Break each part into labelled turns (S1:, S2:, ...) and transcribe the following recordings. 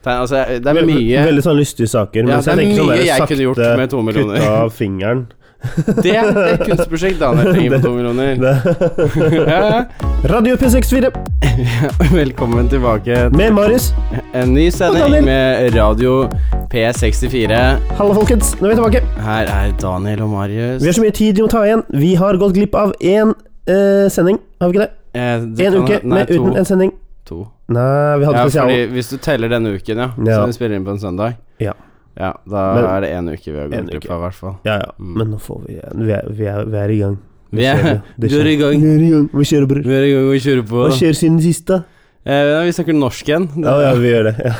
S1: Tegn- Altså, jeg- det er mye
S2: Veldig, veldig sånn lystige saker.
S1: Ja,
S2: mens
S1: det er
S2: jeg tenker sånn
S1: mye
S2: der
S1: jeg
S2: sakte
S1: kunne gjort med to millioner.
S2: Kutta av fingeren.
S1: Det er et kunstprosjekt, Daniel. Trenger på to millioner. Ja,
S2: Radio P64
S1: ja. Velkommen tilbake.
S2: med Marius.
S1: En ny
S2: Daniel.
S1: sending med Radio P64.
S2: Hallo, folkens. Nå er vi tilbake.
S1: Her er Daniel og Marius.
S2: Vi har så mye tid vi må ta igjen. Vi har gått glipp av én eh, sending, har vi ikke det? Én uke
S1: Eh, nei,
S2: med, uten
S1: to.
S2: en sending.
S1: to.
S2: Nei, vi hadde
S1: Ja,
S2: spesial.
S1: fordi hvis du teller denne uken, ja,
S2: Ja.
S1: som vi spiller inn på en søndag,
S2: Ja.
S1: ja da
S2: Men-
S1: er det én uke vi har
S2: En
S1: gått glipp
S2: uke.
S1: av, i hvert fall.
S2: Ja, ja.
S1: Mm.
S2: Men nå får vi Vi er, vi er, vi er i gang.
S1: Vi er,
S2: Det
S1: du er i gang.
S2: Vi er i gang. Vi kjører, bror.
S1: Vi er i gang og kjører på.
S2: Hva skjer siden sist, da?
S1: Eh, vi snakker norsk igjen. Det,
S2: Ja, ja, vi gjør det. Ja.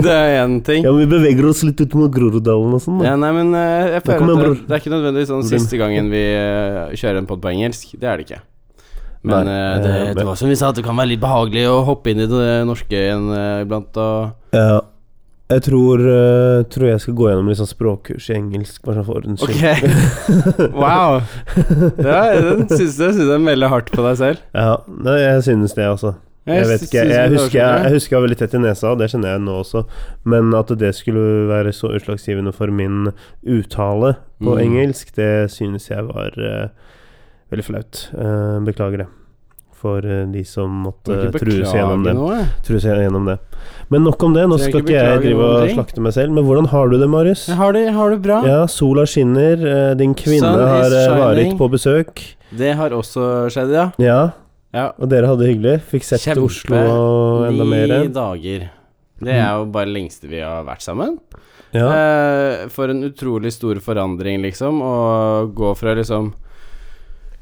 S1: det er én ting.
S2: ja, men Vi beveger oss litt ut mot Groruddalen og sånn. da.
S1: Ja, nei, men eh, jeg føler
S2: kommer
S1: at det,
S2: bror.
S1: det er ikke nødvendigvis sånn
S2: Bror.
S1: siste gangen vi eh, kjører en pod på engelsk. Det er det ikke. Men
S2: Nei,
S1: eh, det,
S2: eh,
S1: det
S2: men-
S1: var som vi sa, at det kan være litt behagelig å hoppe inn i det norske igjen eh, iblant. Og...
S2: Ja. Jeg tror, eh, tror jeg skal gå gjennom litt sånn språkkurs i engelsk, bare sånn for ordens
S1: Ok.
S2: skyld.
S1: Wow. Ja, den syns jeg, synes jeg melder hardt på deg selv.
S2: Ja, nei, jeg synes det, altså. Jeg vet ikke,
S1: synes
S2: jeg
S1: du
S2: husker
S1: hører
S2: jeg,
S1: sånn ut.
S2: husker jeg var veldig tett i nesa, og det kjenner jeg nå også. Men at det skulle være så utslagsgivende for min uttale på
S1: Mm.
S2: engelsk, det synes jeg var eh, veldig flaut. Eh, beklager det. For eh, de som
S1: Du
S2: måtte
S1: må ikke
S2: true seg
S1: beklage
S2: gjennom det.
S1: noe, jeg.
S2: True seg gjennom det. Men nok om det, nå
S1: Trenger
S2: skal
S1: ikke
S2: ikke jeg
S1: beklage
S2: drive
S1: noen
S2: og
S1: ting.
S2: slakte meg selv. Men hvordan har du det, Marius?
S1: Jeg Har det, har det bra.
S2: Ja, sola skinner, eh, din kvinne
S1: Ah. Sun is
S2: har eh, vært
S1: shining.
S2: på besøk.
S1: Det har også skjedd, ja.
S2: Ja,
S1: ja.
S2: og dere hadde det hyggelig. Fikk sett
S1: Kjempe-
S2: Oslo og enda mer.
S1: Ni dager. Det er jo bare det lengste vi har vært sammen.
S2: Ja.
S1: Eh, for en utrolig stor forandring, liksom, å gå fra liksom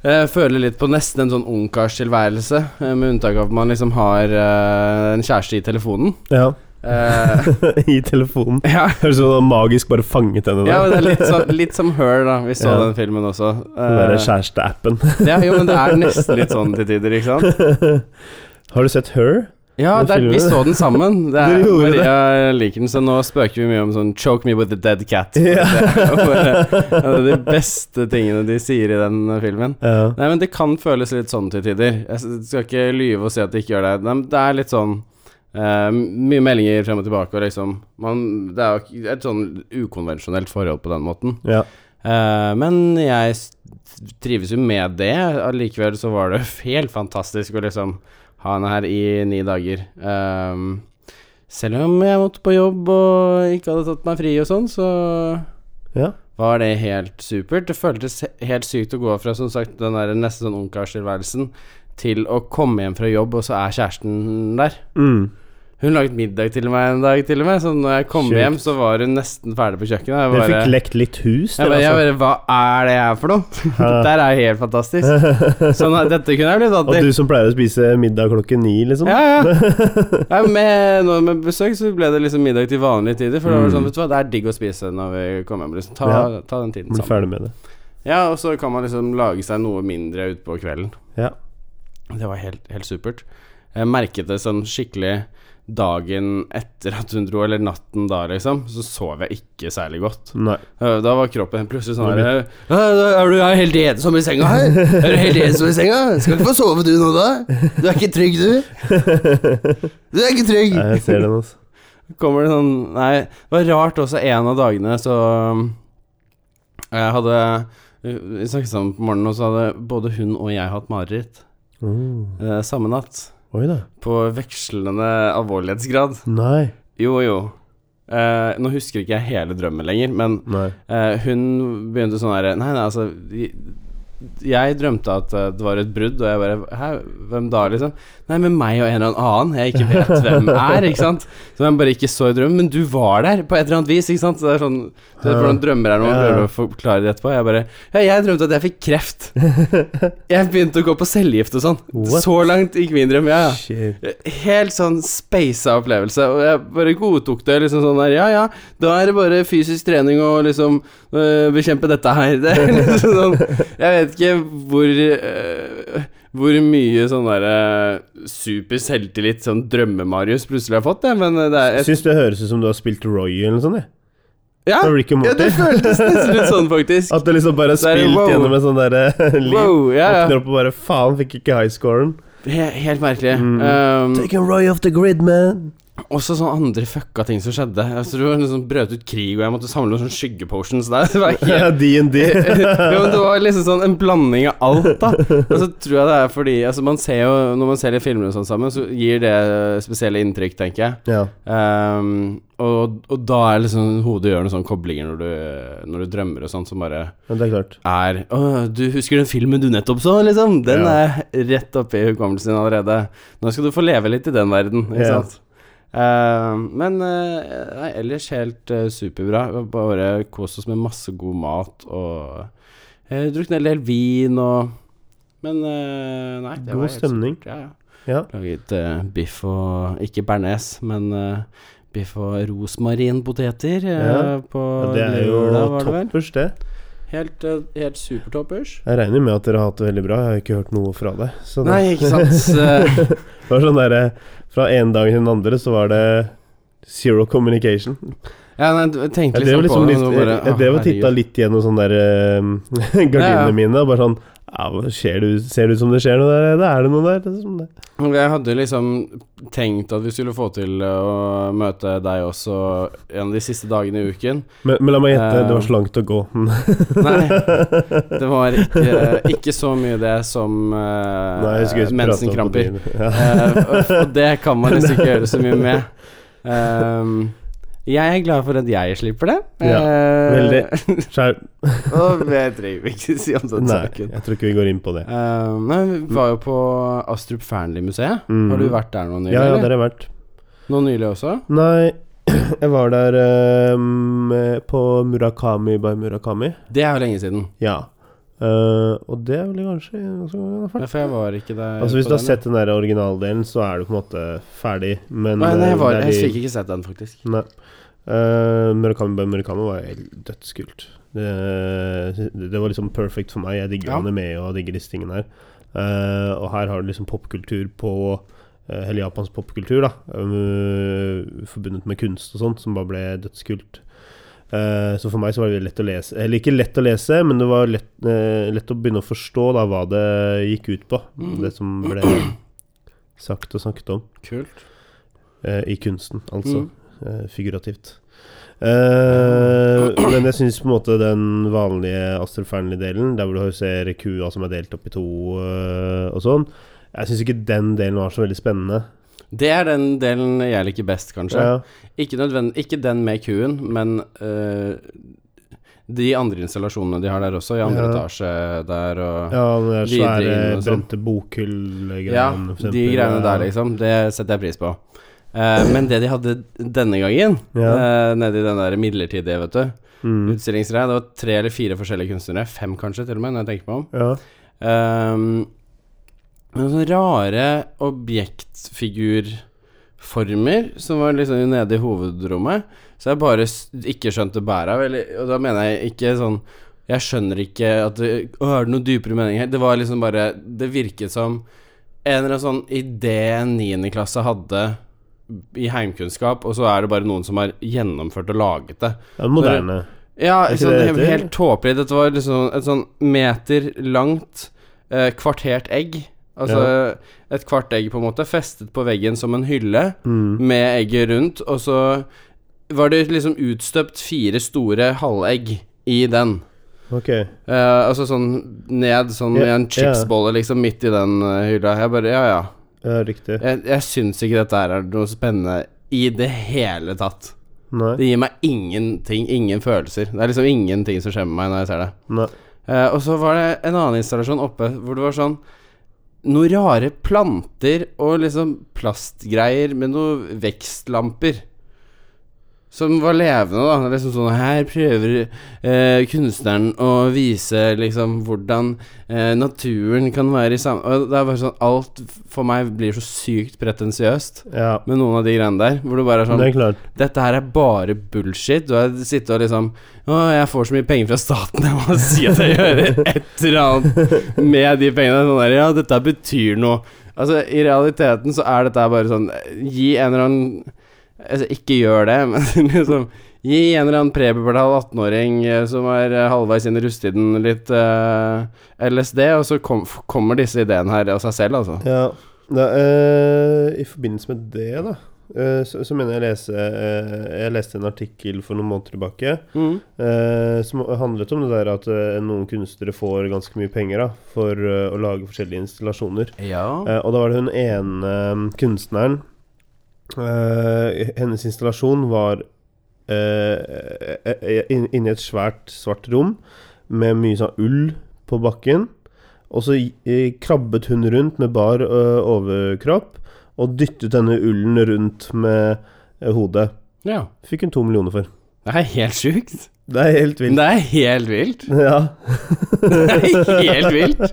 S1: eh, Føle litt på nesten en sånn ungkarstilværelse, eh, med unntak av at man liksom har eh, en kjæreste i telefonen.
S2: ja.
S1: Eh,
S2: I telefonen.
S1: ja.
S2: Høres ut som han magisk bare fanget henne
S1: ja,
S2: der.
S1: men det er litt, sånn- litt som Her, da. Vi så
S2: Ja.
S1: den filmen også.
S2: Den
S1: Eh,
S2: derre kjæresteappen.
S1: ja, jo, men det er nesten litt sånn til tider, ikke sant?
S2: Har du sett Her?
S1: Ja,
S2: Den
S1: det er, vi
S2: filmen.
S1: så den sammen. Det er,
S2: Dere gjorde det.
S1: Maria liker den, så nå spøker vi mye om sånn 'choke me with a dead cat'.
S2: Ja.
S1: Det er jo bare en av de beste tingene de sier i den filmen.
S2: Ja.
S1: Nei, men det kan føles litt sånn til tider. Jeg s- skal ikke lyve og si at det ikke gjør det. Nei, men det er litt sånn eh, Mye meldinger frem og tilbake, og liksom man, Det er jo ikke- et sånn ukonvensjonelt forhold på den måten.
S2: ja.
S1: Eh, men jeg s- trives jo med det. Allikevel så var det helt fantastisk å liksom ha henne her i ni dager. Ehm, selv om jeg måtte på jobb og ikke hadde tatt meg fri og sånn, så
S2: ja.
S1: var det helt supert. Det føltes he- helt sykt å gå fra som sagt den der nesten sånn ungkarstilværelsen til å komme hjem fra jobb, og så er kjæresten der.
S2: Mm.
S1: Hun laget middag til meg en dag, til og med. Så når jeg kom
S2: Sjukt.
S1: hjem, så var hun nesten ferdig på kjøkkenet. Jeg
S2: Dere
S1: bare-
S2: fikk lekt litt hus,
S1: jeg
S2: dere,
S1: bare, jeg
S2: altså.
S1: bare, hva er det her for noe? Dette er jo helt fantastisk. Sånn, at dette kunne jeg blitt vant
S2: Og
S1: til.
S2: du som pleier å spise middag klokken ni, liksom.
S1: Ja, ja. Nei, med, nå med besøk så ble det liksom middag til vanlige tider. For det var sånn, vet du hva, det er digg å spise når vi kommer hjem. Liksom. Ta,
S2: Mm. Ja.
S1: ta den tiden
S2: Blir
S1: sammen.
S2: ferdig med det.
S1: Ja, og så kan man liksom lage seg noe mindre utpå kvelden.
S2: Ja.
S1: Det var helt, helt supert. Jeg merket det sånn skikkelig dagen etter at hun dro, eller natten da, liksom. Så sov jeg ikke særlig godt.
S2: Nei.
S1: Eh, Da var kroppen plutselig sånn her eh, «Hæ, Er du er helt ensom i senga her? Er du helt ensom i senga? Skal ikke få sove du nå, da? Du er ikke trygg, du. Du er ikke trygg.
S2: Nei, jeg ser den, altså.
S1: Kommer det sånn Nei, det var rart også en av dagene, så um, Jeg hadde Vi snakket sammen på morgenen, og så hadde både hun og jeg hatt mareritt
S2: Mm.
S1: eh, samme natt.
S2: Oi da.
S1: På vekslende alvorlighetsgrad.
S2: Nei.
S1: Jo, jo. Eh, nå husker ikke jeg hele drømmen lenger, men
S2: Nei.
S1: Eh, hun begynte sånn her Nei, nei, altså jeg- Jeg drømte at eh, det var et brudd, og jeg bare Hæ, hvem da, liksom? Nei, med meg og en eller annen jeg ikke vet hvem er, ikke sant? Som jeg bare ikke så i drømmen, men du var der på et eller annet vis, ikke sant? Så det er sånn Du vet hvordan drømmer er når man
S2: Ja.
S1: prøver å forklare det etterpå. Jeg bare Ja, jeg drømte at jeg fikk kreft. Jeg begynte å gå på cellegift og sånn.
S2: What?
S1: Så langt gikk min drøm, ja, ja.
S2: Shit.
S1: Helt sånn speisa opplevelse, og jeg bare godtok det. liksom sånn der, Ja, ja, da er det bare fysisk trening og liksom øh, bekjempe dette her. Det er liksom sånn Jeg vet ikke hvor øh, Hvor mye sånn derre super selvtillit sånn Drømme-Marius plutselig har fått, jeg, men øh, det er
S2: Jeg syns det høres ut som du har spilt Roy eller noe sånt. jeg.
S1: ja,
S2: Fra Rick and
S1: ja,
S2: Morty.
S1: det føltes nesten litt sånn, faktisk.
S2: At du liksom bare har
S1: Så er det
S2: spilt
S1: wow.
S2: gjennom en sånn derre liv.
S1: Wow, ja, ja.
S2: Våkner opp og bare faen, fikk ikke high scoren.
S1: He helt merkelig.
S2: Mm.
S1: Um,
S2: Take a Roy off the grid, man.
S1: Også sånne andre fucka ting som skjedde. Jeg tror det liksom brøt ut krig, og jeg måtte samle noen sånne skyggepotions der. Det var helt
S2: Ja, D&D.
S1: ja, men det var liksom sånn en blanding av alt, da. Og så tror jeg det er fordi altså man ser jo, Når man ser de filmene og sånn sammen, så gir det spesielle inntrykk, tenker jeg.
S2: Ja.
S1: Ehm, og, og da er liksom hodet gjør noen sånne koblinger når du, når du drømmer og sånn, som bare
S2: ja, det er klart.
S1: er Å, du husker den filmen du nettopp så, liksom? Den
S2: Ja.
S1: er rett oppe i hukommelsen din allerede. Nå skal du få leve litt i den verden, ikke
S2: Ja.
S1: sant? Eh, men eh, nei, ellers helt eh, superbra. Vi har Bare kost oss med masse god mat og uh, drukket en del vin og Men eh, nei, det var
S2: God
S1: helt
S2: stemning.
S1: supert, Ja, ja.
S2: Ja.
S1: Laget eh, biff og Ikke bearnés, men eh, biff og rosmarinpoteter eh,
S2: Ja.
S1: på
S2: Ja, Det er
S1: lørdag,
S2: jo
S1: var det vel?
S2: toppers, det.
S1: Helt, eh, helt supertoppers.
S2: Jeg regner med at dere har hatt det veldig bra. Jeg har ikke hørt noe fra deg. Så det-
S1: Nei, ikke sant. Eh. Så-
S2: det var sånn derre Fra en dag til den andre så var det zero communication.
S1: Ja, nei, jeg tenkte
S2: Jeg drev
S1: liksom, på
S2: liksom
S1: det.
S2: litt,
S1: og
S2: jeg,
S1: bare,
S2: jeg
S1: «Å,
S2: drev og titta
S1: herregud».
S2: litt gjennom sånne der eh,
S1: Ja, ja.
S2: gardinene mine, og bare sånn ja, hva skjer du, Ser det ut som det skjer noe der? Det er det noe der? Det er sånn det.
S1: Jeg hadde liksom tenkt at vi skulle få til eh, å møte deg også en av de siste dagene i uken.
S2: Men, men la meg gjette,
S1: Eh.
S2: det var så langt å gå.
S1: Nei, det var ikke, ikke så mye det som eh,
S2: Nei, jeg skulle ikke prate om
S1: mensenkramper.
S2: det. Ja.
S1: Eh, og- og det kan man liksom ikke gjøre så mye med. Ehm, jeg er glad for at jeg slipper det.
S2: Ja,
S1: Eh,
S2: veldig. Skjær.
S1: og jeg trenger ikke si om den
S2: Nei,
S1: saken.
S2: jeg tror ikke vi går inn på det.
S1: Ehm, nei, vi var jo på Astrup Fearnley-museet.
S2: Mhm.
S1: Har du vært der nå nylig?
S2: Ja, ja,
S1: eller?
S2: der har jeg vært.
S1: Nå nylig også?
S2: Nei, jeg var der eh, på Murakami by Murakami.
S1: Det er jo lenge siden.
S2: Ja. Eh, og det er vel kanskje også, i hvert fall.
S1: Ja, for jeg var ikke der.
S2: Altså Hvis
S1: eh, på
S2: du har
S1: den,
S2: sett den der originaldelen, så er du på en måte ferdig, men
S1: Nei, nei, jeg, var,
S2: eh, det er
S1: jeg
S2: de-
S1: fikk ikke sett den, faktisk.
S2: Nei. Eh, Murakami by Murakami var helt dødskult. Det, det var liksom perfect for meg. Jeg digger
S1: Ja.
S2: anime og digger disse tingene her. Eh, og her har du liksom popkultur på eh, Hele japansk popkultur, da. eh, forbundet med kunst og sånt, som bare ble dødskult. Eh, så for meg så var det lett å lese Eller ikke lett å lese, men det var lett, eh, lett å begynne å forstå da hva det gikk ut på.
S1: Mhm.
S2: Det som ble sagt og snakket om
S1: Kult.
S2: eh, i kunsten, altså
S1: Mm.
S2: eh, figurativt. Eh, men jeg syns på en måte den vanlige Astrup Fearnley-delen, der hvor du ser kua som er delt opp i to eh, og sånn, jeg syns ikke den delen var så veldig spennende.
S1: Det er den delen jeg liker best, kanskje.
S2: Ja,
S1: Ikke, nødvend- ikke den med kuen, men øh, de andre installasjonene de har der også, i andre
S2: Ja.
S1: etasje der og
S2: ja den der
S1: Videre
S2: svære
S1: inn og sånn.
S2: brente bokhyllgreiene,
S1: Ja,
S2: for eksempel.
S1: de greiene
S2: Ja.
S1: der, liksom. Det setter jeg pris på. Eh, men det de hadde denne gangen,
S2: Ja.
S1: eh, nede i den der midlertidige, vet du,
S2: Mm.
S1: utstillingsgreia, det var tre eller fire forskjellige kunstnere, fem kanskje, til og med, når jeg tenker meg om.
S2: Ja.
S1: Ehm, men sånne rare objektfigurformer som var liksom nede i hovedrommet, så jeg bare s- ikke skjønte bæret av. eller- Og da mener jeg ikke sånn Jeg skjønner ikke at det Å, er det noe dypere mening her? Det var liksom bare Det virket som en eller annen sånn idé en niendeklasse hadde i heimkunnskap, og så er det bare noen som har gjennomført og laget det.
S2: Ja, moderne.
S1: Ja,
S2: Er ikke
S1: sånn,
S2: det det
S1: helt-
S2: heter?
S1: helt tåpelig. Dette var liksom et sånn meter langt eh, kvartert egg. Altså et kvart egg, på en måte, festet på veggen som en hylle
S2: Mm.
S1: med egget rundt, og så var det liksom utstøpt fire store halvegg i den.
S2: Ok.
S1: Eh, altså sånn ned, sånn
S2: Ja,
S1: i en
S2: ja.
S1: chipsbolle, liksom, midt i den eh, hylla. Jeg bare Ja, ja.
S2: Ja, riktig.
S1: Jeg, jeg syns ikke dette her er noe spennende i det hele tatt.
S2: Nei.
S1: Det gir meg ingenting, ingen følelser. Det er liksom ingenting som skjer med meg når jeg ser det.
S2: Nei.
S1: Eh, og så var det en annen installasjon oppe hvor det var sånn noen rare planter og liksom plastgreier med noen vekstlamper. Som var levende, da. Det er Liksom sånn Her prøver eh, kunstneren å vise liksom hvordan eh, naturen kan være i sam... Og det er bare sånn Alt for meg blir så sykt pretensiøst
S2: Ja.
S1: med noen av de greiene der. Hvor du bare er sånn
S2: Det er klart.
S1: dette her er bare bullshit. Du har sittet og liksom Å, jeg får så mye penger fra staten, jeg må si at jeg gjør et eller annet med de pengene. Sånn der, ja, dette betyr noe. Altså, i realiteten så er dette her bare sånn Gi en eller annen Altså, ikke gjør det, men liksom Gi en eller annen prepubertal 18-åring eh, som er eh, halvveis inn i rusttiden, litt eh, LSD, og så kom, f- kommer disse ideene her av seg selv, altså.
S2: Ja, da, eh, I forbindelse med det, da eh, så, så mener jeg å lese eh, Jeg leste en artikkel for noen måneder tilbake
S1: Mm.
S2: eh, som handlet om det der at eh, noen kunstnere får ganske mye penger da, for eh, å lage forskjellige installasjoner.
S1: Ja.
S2: Eh, og da var det hun ene eh, kunstneren eh, Hennes installasjon var eh, eh, eh, inn- inni et svært, svart rom med mye sånn ull på bakken. Og så eh, krabbet hun rundt med bar eh, overkropp og dyttet denne ullen rundt med eh, hodet.
S1: ja.
S2: Fikk hun to millioner for.
S1: Det er helt sjukt.
S2: Det er helt vilt.
S1: Det er helt vilt.
S2: Ja.
S1: Det er helt vilt.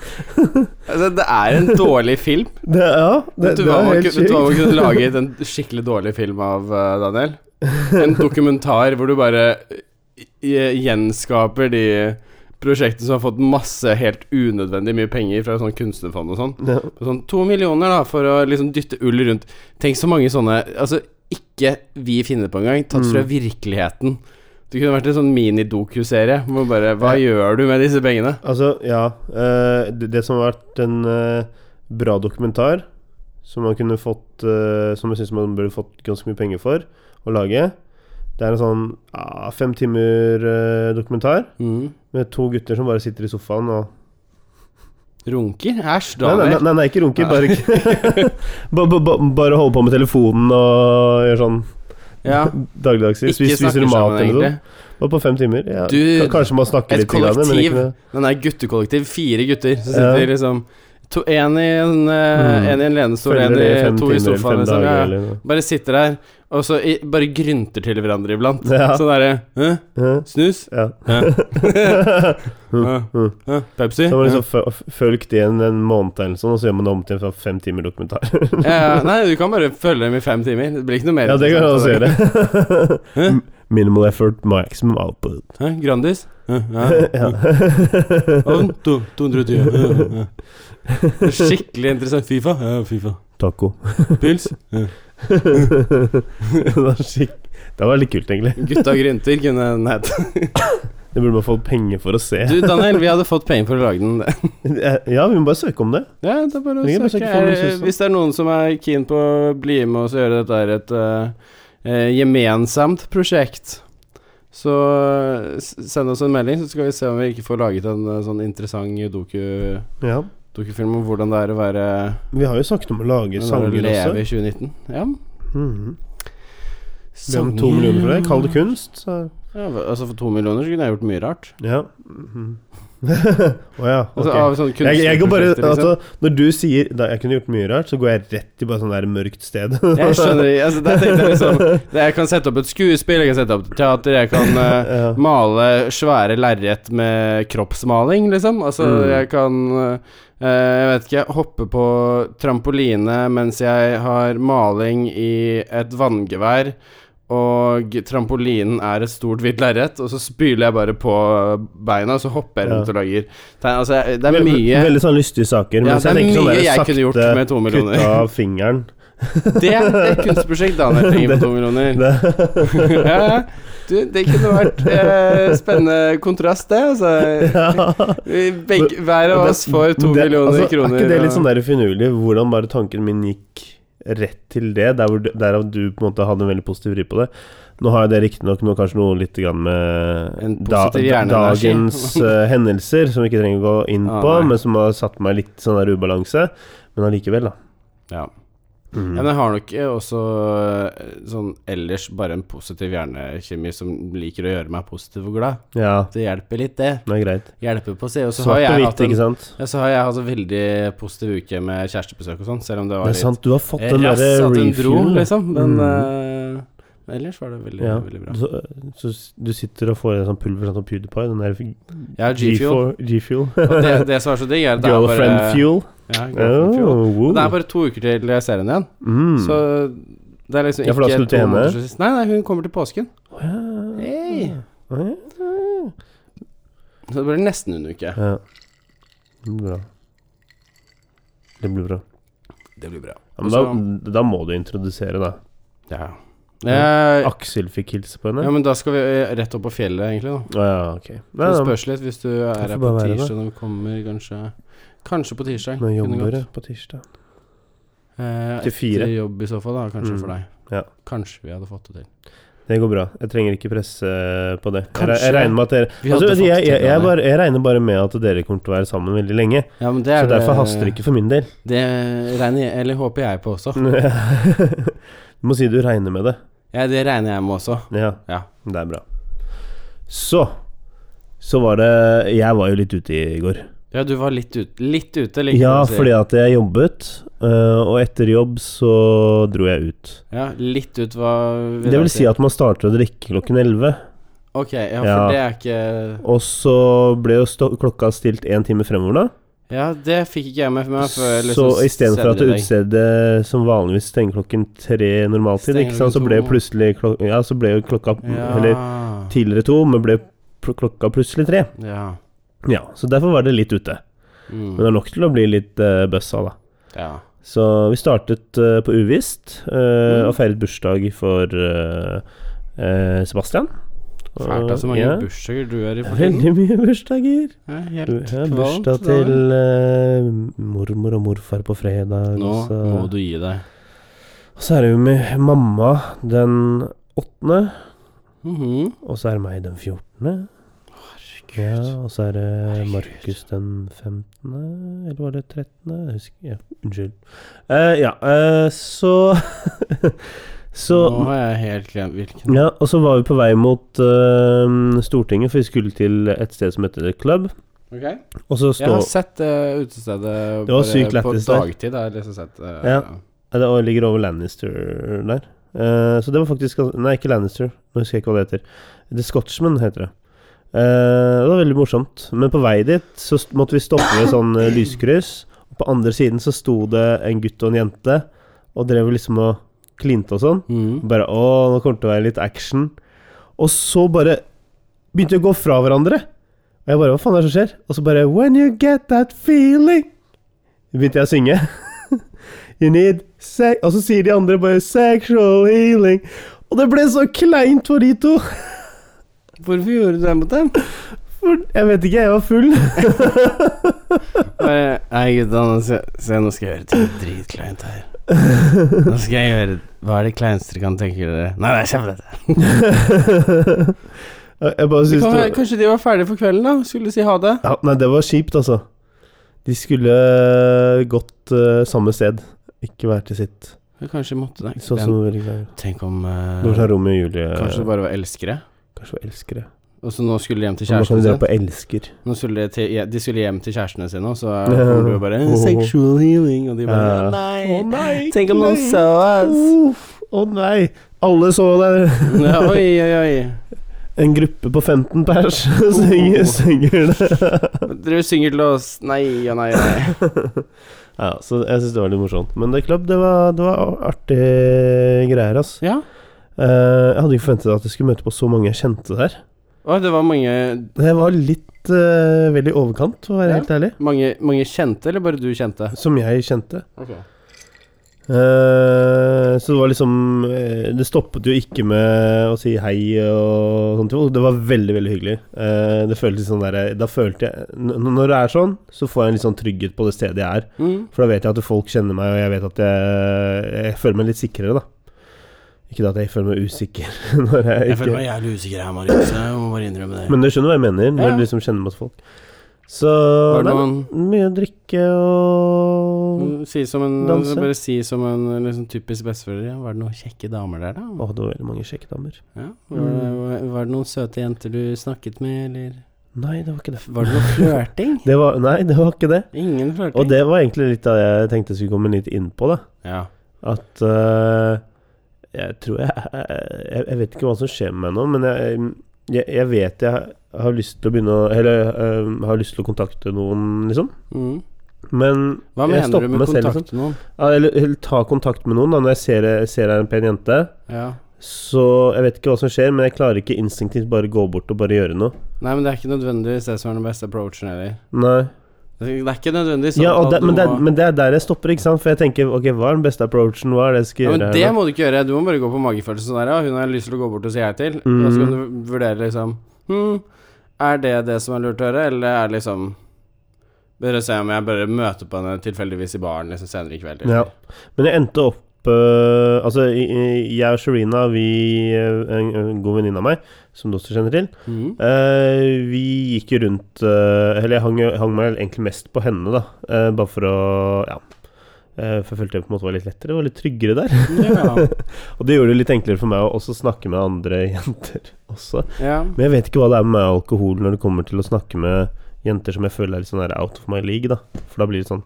S1: Altså, det er en dårlig film.
S2: Det, ja, det,
S1: Vet du
S2: det
S1: hva
S2: er
S1: man
S2: helt
S1: kunne- vet du hva man
S2: sjukt.
S1: kunne laget en skikkelig dårlig film av, eh, Daniel? En dokumentar hvor du bare eh, gjenskaper de prosjektene som har fått masse helt unødvendig mye penger fra sånn kunstnerfond og sånn.
S2: Ja.
S1: Sånn to millioner, da, for å liksom dytte ull rundt. Tenk så mange sånne Altså, ikke vi finner på engang, tatt fra
S2: Mm.
S1: virkeligheten. Det kunne vært en sånn minidokuserie. hvor Bare, hva gjør du med disse pengene?
S2: Altså, ja eh, det, det som har vært en eh, bra dokumentar, som man kunne fått eh, Som jeg syns man burde fått ganske mye penger for å lage, det er en sånn ah, fem timer eh, dokumentar
S1: Mm.
S2: med to gutter som bare sitter i sofaen og
S1: Runker? Æsj,
S2: Nei, nei, nei,
S1: Daniel.
S2: nei, nei ikke runker. Bare, ikke- ba, ba, ba, bare holde på med telefonen og gjøre sånn
S1: Ja.
S2: dagligdags. Spis, spiser mat eller noe sånt. Og på fem timer. Ja,
S1: Du-
S2: ka- kanskje man snakker
S1: et
S2: litt. grann, men
S1: kollektiv.
S2: ikke noe-
S1: Den er guttekollektiv. Fire gutter som
S2: Ja.
S1: sitter liksom to, en, i en, eh,
S2: Mm.
S1: en i en lenestol,
S2: Følger
S1: en
S2: det i
S1: i
S2: fem
S1: to
S2: timer
S1: i
S2: eller fem
S1: sofaen. Liksom.
S2: dager,
S1: Ja.
S2: eller noe.
S1: Bare sitter der og så i, bare grynter til hverandre iblant.
S2: Ja.
S1: Sånn derre Hæ?
S2: Hæ?
S1: Snus?
S2: Ja.
S1: Hæ? Hæ?
S2: Mm.
S1: Hæ? Pepsi? Hæ?
S2: Så har man liksom fø- fulgt det en, en måned eller sånn, og så gjør man det om til en fa- fem timer dokumentar.
S1: Ja, nei, du kan bare følge dem i fem timer. Det blir ikke noe mer.
S2: ja, det kan jeg også
S1: interessant.
S2: gjøre.
S1: Hæ?
S2: Minimal effort, maximum output.
S1: Hæ? Grandis? Hæ?
S2: ja.
S1: Hæ? Ovn? To- 220. Hæ? Hæ? Skikkelig interessant. Fifa? Ja, Fifa.
S2: Taco.
S1: Pils? Hæ?
S2: det var skikk- det var litt kult, egentlig.
S1: Gutta grynter kunne den hett.
S2: Det burde man fått penger for å se.
S1: Du, Daniel, vi hadde fått penger for å lage den.
S2: ja, vi må bare søke om det.
S1: Ja, det er bare å
S2: Vi kan bare
S1: søke.
S2: søke for noen
S1: Eh,
S2: synes det.
S1: Hvis det er noen som er keen på å bli med oss og gjøre dette her et eh, eh, gemensamt prosjekt, så eh, s- send oss en melding, så skal vi se om vi ikke får laget en eh, sånn interessant doku,
S2: Ja.
S1: dokufilm om hvordan det er å være
S2: Vi har jo snakket om å lage
S1: å
S2: sanger
S1: leve
S2: også.
S1: i 2019. Ja.
S2: Mhm. Vi har to millioner for det. Kall
S1: Mm.
S2: det kunst. Så.
S1: Ja, altså for to millioner så kunne jeg gjort mye rart.
S2: Ja. Mhm. Å ja.
S1: Altså,
S2: ok.
S1: av sånne
S2: Jeg, jeg går bare,
S1: kunstnerprosjekter, liksom.
S2: altså, når du sier da, 'jeg kunne gjort mye rart', så går jeg rett til bare sånn der mørkt sted.
S1: Jeg skjønner ikke. altså, der tenkte jeg liksom det- Jeg kan sette opp et skuespill, jeg kan sette opp et teater, jeg kan eh,
S2: Ja.
S1: Male svære lerret med kroppsmaling, liksom. Altså,
S2: Mm.
S1: jeg kan eh, Jeg vet ikke Hoppe på trampoline mens jeg har maling i et vanngevær, og trampolinen er et stort, hvitt lerret, og så spyler jeg bare på beina, og så hopper jeg rundt
S2: Ja.
S1: og lager tegn. Altså, jeg- det er
S2: Vel-
S1: mye
S2: Veldig sånn lystige saker.
S1: Ja,
S2: mens
S1: det er
S2: tenker sånn
S1: mye
S2: der
S1: jeg
S2: sakte
S1: kunne gjort med to millioner.
S2: Kutte av fingeren.
S1: Det er et kunstprosjekt, Daniel Tengen på to millioner. ja, ja. du, det kunne vært eh, spennende kontrast, det. Altså. Vi Begge, hver av oss får to
S2: Det-
S1: millioner
S2: altså,
S1: kroner.
S2: Er ikke det
S1: og-
S2: litt sånn der finurlig hvordan bare tanken min gikk rett til det, der hvor du, derav du på en måte hadde en veldig positiv vri på det? Nå har jeg det riktignok nå kanskje noe litt grann med
S1: En positiv hjerneenergi.
S2: dagens eh, hendelser, som vi ikke trenger å gå inn
S1: Ah,
S2: på,
S1: nei.
S2: men som har satt meg litt sånn der ubalanse. Men allikevel, da.
S1: ja.
S2: Mm.
S1: Men jeg har nok eh, også eh, sånn ellers bare en positiv hjernekjemi som liker å gjøre meg positiv og glad.
S2: Ja,
S1: Det hjelper litt, det.
S2: det er greit.
S1: Hjelper på å se. Og så har
S2: Svart og
S1: jeg
S2: hvitt,
S1: hatt en,
S2: ikke sant?
S1: ja, så har jeg hatt en veldig positiv uke med kjærestebesøk og sånn, selv om det
S2: Det
S1: var
S2: er
S1: litt
S2: sant, du har fått den
S1: rass
S2: derre Mm.
S1: at hun dro,
S2: refuel.
S1: liksom. Men eh, ellers var det veldig,
S2: Ja.
S1: veldig bra.
S2: Så, så du sitter og får i deg sånn pulver sånn som PewDiePie, den der
S1: Jeg har G-Fuel.
S2: G4 G-Fuel.
S1: Og det, det som er så digg, er at det er bare
S2: Girlfriend fuel.
S1: Ja, girlfriend fuel.
S2: Oh,
S1: Og
S2: woo.
S1: det er bare to uker til jeg ser henne igjen.
S2: Mm.
S1: Så det er liksom
S2: Ja, for da skal
S1: ikke
S2: du til henne?
S1: måneder siden sist. Nei, nei, hun kommer til påsken. Hey.
S2: Ja. Ja.
S1: Så det blir nesten en uke.
S2: Ja. Det blir bra. Det blir bra.
S1: Det blir bra.
S2: Ja, men da, da må du introdusere, da.
S1: ja. Eh,
S2: Aksel fikk hilse på
S1: ja,
S2: henne.
S1: men da skal vi eh, rett opp på fjellet, egentlig. da
S2: Å ja, ok. Nei,
S1: Det
S2: da,
S1: spørs litt hvis du er
S2: får
S1: her på
S2: bare være
S1: tirsdag når du kommer, kanskje Kanskje på tirsdag.
S2: nå
S1: kunne
S2: jobber
S1: gått.
S2: jeg på tirsdag.
S1: Eh,
S2: Til fire.
S1: Etter jobb i så fall, da, kanskje
S2: Mm.
S1: for deg.
S2: Ja.
S1: Kanskje vi hadde fått det til.
S2: Det går bra. Jeg trenger ikke presse eh, på det. Jeg,
S1: Kanskje.
S2: jeg regner med at dere
S1: Vi
S2: altså,
S1: hadde fått
S2: jeg, jeg, jeg,
S1: til det.
S2: bare, jeg regner bare med at dere kommer til å være sammen veldig lenge.
S1: Ja, men det
S2: Så
S1: er
S2: derfor haster det ikke for min del.
S1: Det regner jeg, eller håper jeg på også.
S2: du må si du regner med det.
S1: Ja, det regner jeg med også.
S2: Ja.
S1: Ja.
S2: Det er bra. Så Så var det Jeg var jo litt ute i går.
S1: Ja, du var litt, ut, litt ute, liker
S2: Ja,
S1: jeg å si.
S2: fordi at jeg jobbet, øh, og etter jobb så dro jeg ut.
S1: Ja, litt ut hva
S2: Det vil si at man starter å drikke klokken 11,
S1: Ok, ja, for
S2: Ja.
S1: det er ikke
S2: og så ble jo sto- klokka stilt én time fremover, da.
S1: Ja, det fikk ikke jeg liksom med meg før
S2: Så istedenfor at
S1: senere i dag.
S2: utestedet som vanligvis stenger klokken tre normaltid,
S1: Stenger
S2: ikke sant, så
S1: klokken
S2: ble jo
S1: to.
S2: plutselig klokka, ja, så ble jo klokka
S1: ja.
S2: Eller tidligere to, men ble pl- klokka plutselig tre.
S1: Ja.
S2: Ja, så derfor var det litt ute. Men
S1: Mm.
S2: det er nok til å bli litt uh, bøssa, da.
S1: ja.
S2: Så vi startet eh, på Uvisst eh,
S1: Mm.
S2: og feiret bursdag for eh, eh, Sebastian.
S1: Fælt at så mange
S2: Ja.
S1: bursdager du er i for tiden.
S2: Veldig mye bursdager.
S1: Ja, helt
S2: Ja,
S1: kvalt.
S2: bursdag til eh, mormor og morfar på fredag.
S1: Nå
S2: og så.
S1: må du gi deg.
S2: og så er det jo med mamma den åttende,
S1: Mhm.
S2: og så er det meg den fjortende. Ja,
S1: Herregud.
S2: og så er det
S1: Herregud.
S2: Markus den 15., eller var det 13.? Jeg husker ja, Unnskyld. Eh, ja, eh, så Så
S1: Nå har jeg helt glemt hvilken
S2: Ja, og så var vi på vei mot eh, Stortinget, for vi skulle til et sted som heter The Club.
S1: Ok.
S2: Og så
S1: Jeg har
S2: står
S1: sett eh, utestedet
S2: Det var
S1: bare
S2: sykt
S1: på
S2: lættis der.
S1: dagtid. Jeg har jeg liksom sett eh,
S2: Ja. Eh, Det ligger over Lannister der. Eh, så det var faktisk gans- Nei, ikke Lannister. Nå husker jeg ikke hva det heter. The Scotsman heter det. Eh, det var veldig morsomt. Men på vei dit så st- måtte vi stoppe ved sånn eh, lyskryss. Og på andre siden så sto det en gutt og en jente og drev liksom og klinte og sånn.
S1: Mhm.
S2: Bare å, nå kommer det til å være litt action. Og så bare begynte de å gå fra hverandre. Og jeg bare hva faen er det som skjer? Og så bare When you get that feeling Begynte jeg å synge. you need se Og så sier de andre bare sexual healing. Og det ble så kleint for de to.
S1: Hvorfor gjorde du det mot dem?
S2: For jeg vet ikke, jeg var full.
S1: Bare, Nei, gutta, nå skal, se, nå skal jeg gjøre ting dritkleint her. Nå skal jeg gjøre Hva er det kleineste dere kan tenke dere? Nei, nei, kjeft dette.
S2: jeg bare synes det var,
S1: Kanskje de var ferdige for kvelden, da? Skulle si ha det?
S2: ja, Nei, det var kjipt, altså. De skulle gått eh, samme sted. Ikke hver til sitt.
S1: Kanskje måtte det.
S2: Sånn som veldig glad.
S1: Tenk om eh,
S2: Når tar Romeo og Julie
S1: Kanskje det bare var elskere?
S2: Kanskje det var elskere.
S1: Og så nå skulle de hjem til
S2: Nå kan
S1: kjæresten
S2: vi dra
S1: sin.
S2: på elsker.
S1: Nå skulle de, til, ja, de skulle hjem til kjærestene sine, og så
S2: Ja.
S1: kommer du og bare
S2: Åh.
S1: Sexual healing. Og de bare
S2: Ja.
S1: Nei!
S2: nei!
S1: Tenk om noen så oss!
S2: Uff, Å nei! Alle så det.
S1: Ja, oi, oi, oi.
S2: En gruppe på 15 pers synger,
S1: Oh.
S2: synger det.
S1: Dere synger til oss Nei og nei og nei.
S2: ja, så jeg syns det var litt morsomt. Men The Club, det var, det var artige greier, ass.
S1: Ja.
S2: Eh, jeg hadde ikke forventet at jeg skulle møte på så mange jeg kjente der.
S1: Og det var mange,
S2: Det var litt eh, veldig i overkant, for å være
S1: Ja.
S2: helt ærlig.
S1: mange, mange kjente, eller bare du kjente?
S2: Som jeg kjente.
S1: Ok.
S2: Eh, så det var liksom eh, Det stoppet jo ikke med å si hei og sånt. jo. Det var veldig, veldig hyggelig. Eh, det føltes sånn der, Da følte jeg n- Når det er sånn, så får jeg en litt sånn trygghet på det stedet jeg er.
S1: Mm.
S2: For da vet jeg at folk kjenner meg, og jeg vet at jeg, jeg føler meg litt sikrere, da. Ikke da at jeg føler meg usikker når jeg
S1: Jeg føler
S2: ikke
S1: meg jævlig usikker her, Marius. Jeg må bare innrømme det.
S2: Men du skjønner hva jeg mener, når
S1: Ja.
S2: du liksom kjenner masse folk. Så
S1: Var det
S2: nei,
S1: noen
S2: Mye å drikke og
S1: Mm, Si som en,
S2: Danse?
S1: Bare si som en liksom, typisk bestefølger. Var det noen kjekke damer der, da?
S2: Å, Mm. det var veldig mange kjekke damer.
S1: Ja. Var, det, var, var det noen søte jenter du snakket med, eller
S2: Nei, det var ikke det.
S1: Var det noe flørting?
S2: det var, nei, det var ikke det.
S1: Ingen flørting.
S2: Og det var egentlig litt av det jeg tenkte jeg skulle komme litt inn på, da.
S1: Ja.
S2: At øh, jeg tror jeg, jeg Jeg vet ikke hva som skjer med meg nå, men jeg, jeg, jeg vet jeg har lyst til å begynne å Eller øh, har lyst til å kontakte noen, liksom.
S1: Mm.
S2: Men
S1: Hva
S2: Jeg
S1: mener
S2: stopper
S1: du med
S2: meg selv, liksom.
S1: kontakt med noen?
S2: ja, eller, eller ta kontakt med noen, da, når jeg ser, ser ei pen jente.
S1: Ja.
S2: Så jeg vet ikke hva som skjer, men jeg klarer ikke instinktivt bare gå bort og bare gjøre noe.
S1: Nei, men det er ikke nødvendigvis det som er den beste approachen heller.
S2: Nei.
S1: Det det er ikke nødvendigvis sånn
S2: Ja, og
S1: at
S2: det,
S1: du
S2: men, det,
S1: må
S2: men det er der jeg stopper, ikke sant? For jeg tenker ok, hva er den beste approachen? Hva er det jeg skal
S1: ja, men
S2: gjøre?
S1: det
S2: her nå?
S1: må du ikke gjøre. Du må bare gå på magefølelsen sånn der. Ja, hun har lyst til å gå bort og si hei til.
S2: Mm.
S1: Og så kan du «Hmm, vurdere liksom Hm, er det det som er lurt å gjøre, eller er det liksom Bare se om jeg bare møter på henne tilfeldigvis i baren liksom senere i kveld.
S2: Ja. Men jeg endte opp eh, Altså, i- i- jeg og Sharina, vi, eh, en, en god venninne av meg, som du også kjenner til
S1: Mhm.
S2: eh, Vi gikk jo rundt eh, Eller jeg hang, jo- hang meg egentlig mest på henne, da. eh, bare for å Ja. Eh, for jeg følte det på en måte var litt lettere, var litt tryggere der.
S1: ja.
S2: Og det gjorde det litt enklere for meg å også snakke med andre jenter også.
S1: ja.
S2: Men jeg vet ikke hva det er med alkohol når det kommer til å snakke med jenter som jeg føler er litt sånn her out of my league, da. For da blir det sånn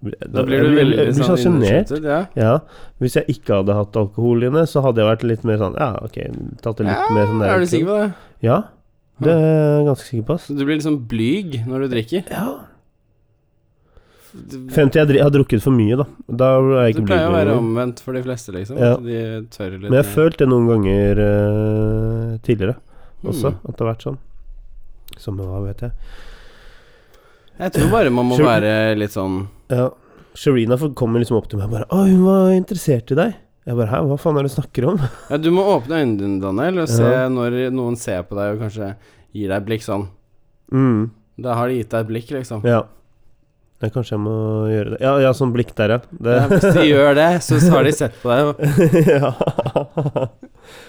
S1: Da blir
S2: jeg
S1: du veldig
S2: jeg blir sånn sjenert.
S1: innesluttet, Ja.
S2: Ja, hvis jeg ikke hadde hatt alkohol inne, så hadde jeg vært litt mer sånn Ja, ok, tatt det litt mer sånn der
S1: Er du sikker på det?
S2: Ja, det er jeg ganske sikker på, ass.
S1: Så du blir liksom blyg når du drikker?
S2: Ja.
S1: Du,
S2: Frem til jeg dri- har drukket for mye, da. Da er jeg
S1: det
S2: ikke blid
S1: pleier å være
S2: lenger.
S1: omvendt for de fleste, liksom.
S2: Ja.
S1: At de tør litt
S2: Men jeg har
S1: mer.
S2: følt det noen ganger eh, tidligere også,
S1: Hmm.
S2: at det har vært sånn. Som hva, vet jeg.
S1: Jeg tror bare man må
S2: Sure.
S1: være litt sånn
S2: Ja. Sharina for- kommer liksom opp til meg og bare 'Å, hun var interessert i deg'. Jeg bare 'Hæ, hva faen er det du snakker om?'
S1: Ja, du må åpne øynene dine, Daniel, og se
S2: Ja.
S1: når noen ser på deg og kanskje gir deg et blikk sånn.
S2: Mm,
S1: Da har de gitt deg et blikk, liksom.
S2: ja. ja. Kanskje jeg må gjøre det. Ja, ja sånn blikk der, ja.
S1: Ja,
S2: Det.
S1: hvis de gjør det, så har de sett på deg og
S2: ja.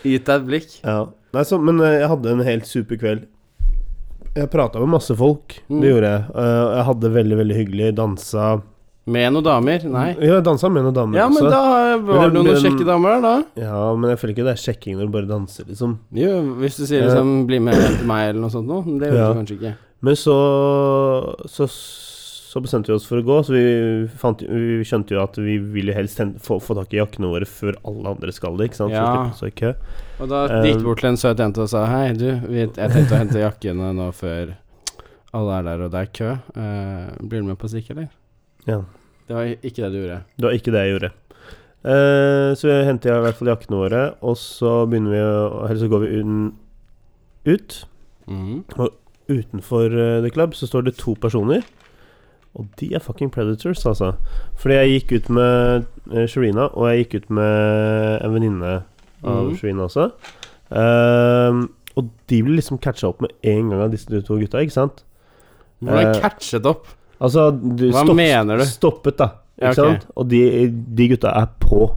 S1: gitt deg et blikk.
S2: Ja. Nei, så, men eh, jeg hadde en helt super kveld. Jeg prata med masse folk.
S1: Mm.
S2: Det gjorde jeg. Eh, jeg hadde det veldig, veldig hyggelig. Dansa
S1: Med noen damer? Nei.
S2: Ja, jeg dansa med noen damer
S1: Ja, men
S2: også.
S1: da var
S2: Mm. Men
S1: det
S2: det-
S1: noen
S2: men-
S1: kjekke damer der, da.
S2: Ja, men jeg føler ikke det er sjekking når du bare danser, liksom.
S1: Jo, hvis du sier liksom 'bli med hjem til meg' eller noe sånt noe. men Det gjør
S2: Ja.
S1: du kanskje ikke.
S2: Men så, så så bestemte vi oss for å gå, så vi, fant, vi skjønte jo at vi ville helst hen- få, få tak i jakkene våre før alle andre skal det, ikke sant? Så
S1: Ja.
S2: slippe oss i kø.
S1: Og da
S2: Eh,
S1: gikk du bort til en søt jente og sa 'hei, du, vi- jeg tenkte å hente jakkene nå før alle er der og det er kø'. Eh, blir du med på stikk, eller?
S2: Ja.
S1: Det var ikke det du gjorde.
S2: Det var ikke det jeg gjorde. Eh, så henter jeg i hvert fall jakkene våre, og så begynner vi å Eller så går vi un, ut. Mm.
S1: Mhm.
S2: Utenfor eh, The Club så står det to personer. Og de er fucking predators, altså. Fordi jeg gikk ut med uh, Sharina, og jeg gikk ut med en venninne av
S1: Mhm.
S2: Sharina også. Ehm, og de ble liksom catcha opp med en gang av disse to gutta, ikke sant?
S1: Hvordan
S2: Eh,
S1: catchet opp?
S2: Altså, du,
S1: Hva mener du?
S2: Stoppet, da. Ikke
S1: Ja, ok.
S2: sant? Og de, de gutta er på.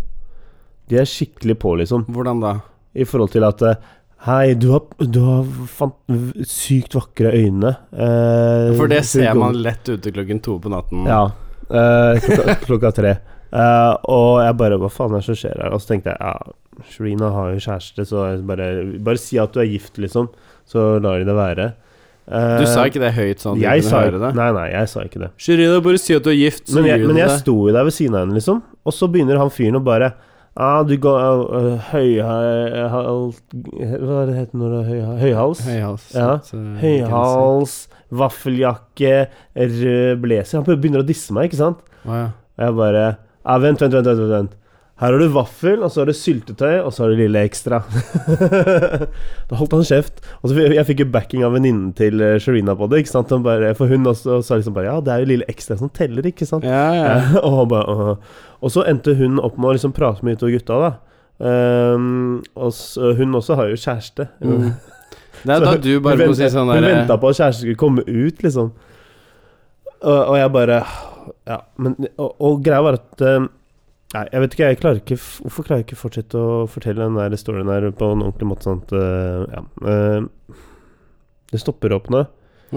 S2: De er skikkelig på, liksom.
S1: Hvordan da?
S2: I forhold til at eh, Hei, du har, du har fant sykt vakre øyne. eh,
S1: For det
S2: så
S1: ser
S2: gå-
S1: man liksom. lett ute klokken to på natten.
S2: Ja. eh, klokka, klokka tre. Eh, og jeg bare Hva faen er det som skjer her? Og så tenkte jeg ja, Shrina har jo kjæreste, så jeg bare, bare si at du er gift, liksom. Så lar de det være. Eh,
S1: Du sa ikke det høyt sånn at du
S2: jeg
S1: kunne
S2: sa,
S1: høre det?
S2: Nei, nei, jeg sa ikke det.
S1: Shirina, bare si at du er gift, så
S2: Men jeg,
S1: gjør du
S2: men jeg
S1: det.
S2: sto jo der ved siden av henne, liksom. Og så begynner han fyren å bare ah, du går øh, høyhal... Hva er det heter når det er høyha- høyhals?
S1: Høyhals.
S2: Ja,
S1: så- så-
S2: Høyhals, vaffeljakke, rød blazer Han begynner å disse meg, ikke sant?
S1: Å, ja.
S2: Og jeg bare ah, Vent, vent, vent. vent, vent. Her har du vaffel, og så har du syltetøy, og så har du lille ekstra. da holdt han kjeft. Og så fikk jeg fikk jo backing av venninnen til eh, Sharina på det. ikke sant? Han bare, for hun også sa liksom bare Ja, det er jo lille ekstra som teller, ikke sant?
S1: ja, ja.
S2: Ja, Eh, og, han bare, «Åh». og så endte hun opp med å liksom prate med de to gutta, da. Ehm, og så, hun også har jo kjæreste.
S1: Mm. Det er da
S2: Så
S1: du bare
S2: hun
S1: må si
S2: ventet-
S1: sånn
S2: Hun
S1: derre
S2: venta på at kjæresten skulle komme ut, liksom. Og, og jeg bare Ja, men Og, og greia var at ehm, Nei, jeg vet ikke, jeg klarer ikke f- Hvorfor klarer jeg ikke fortsette å fortelle den der storyen her på en ordentlig måte, sånn at eh, Ja. ehm, det stopper opp nå.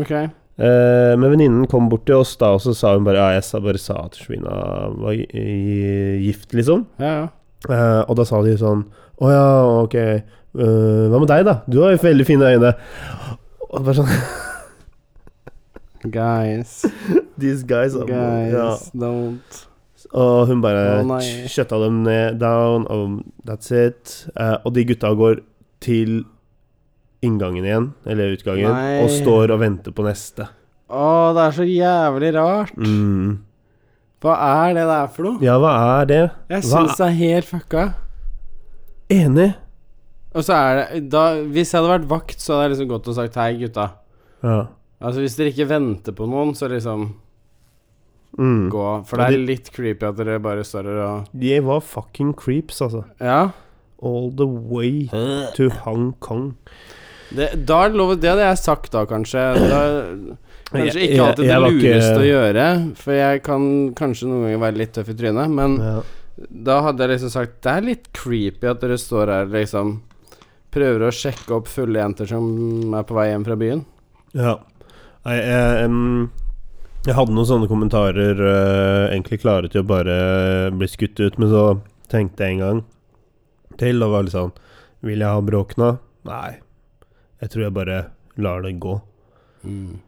S1: Ok.
S2: Eh, men venninnen kom bort til oss da, og så sa hun bare Ja, jeg sa, bare sa at Shrina var gi- i- gift, liksom.
S1: Ja, ja.
S2: Eh, og da sa de sånn Å ja, ok. eh, hva med deg, da? Du har jo veldig fine øyne. Og bare sånn
S1: Guys.
S2: These guys, are-
S1: Guys,
S2: Ja.
S1: don't
S2: Og hun bare
S1: Å, nei.
S2: skjøtta dem ned down, og that's it. Eh, og de gutta går til inngangen igjen, eller utgangen,
S1: Nei.
S2: og står og venter på neste.
S1: Å, det er så jævlig rart.
S2: Mm.
S1: Hva er det der for noe?
S2: Ja, hva er det?
S1: Jeg
S2: Hva-
S1: syns det er helt fucka.
S2: Enig.
S1: Og så er det da, Hvis jeg hadde vært vakt, så hadde jeg liksom gått og sagt hei, gutta.
S2: Ja.
S1: Altså Hvis dere ikke venter på noen, så liksom
S2: Mm.
S1: gå. For
S2: Ja,
S1: det er
S2: de-
S1: litt creepy at dere bare står her og
S2: De var fucking creeps, altså.
S1: Ja.
S2: All the way to Hong Kong.
S1: Det, da er det lov Det hadde jeg sagt da, kanskje. Da, kanskje
S2: Jeg-
S1: ikke alltid
S2: jeg- jeg var
S1: det
S2: ikke-
S1: lureste å gjøre, for jeg kan kanskje noen ganger være litt tøff i trynet, men
S2: Ja.
S1: da hadde jeg liksom sagt Det er litt creepy at dere står her liksom prøver å sjekke opp fulle jenter som er på vei hjem fra byen.
S2: Ja. Nei, jeg, em, jeg hadde noen sånne kommentarer eh, egentlig klare til å bare eh, bli skutt ut, men så tenkte jeg en gang til og var litt sånn Vil jeg ha bråkna? Nei. Jeg tror jeg bare lar det gå. Mm.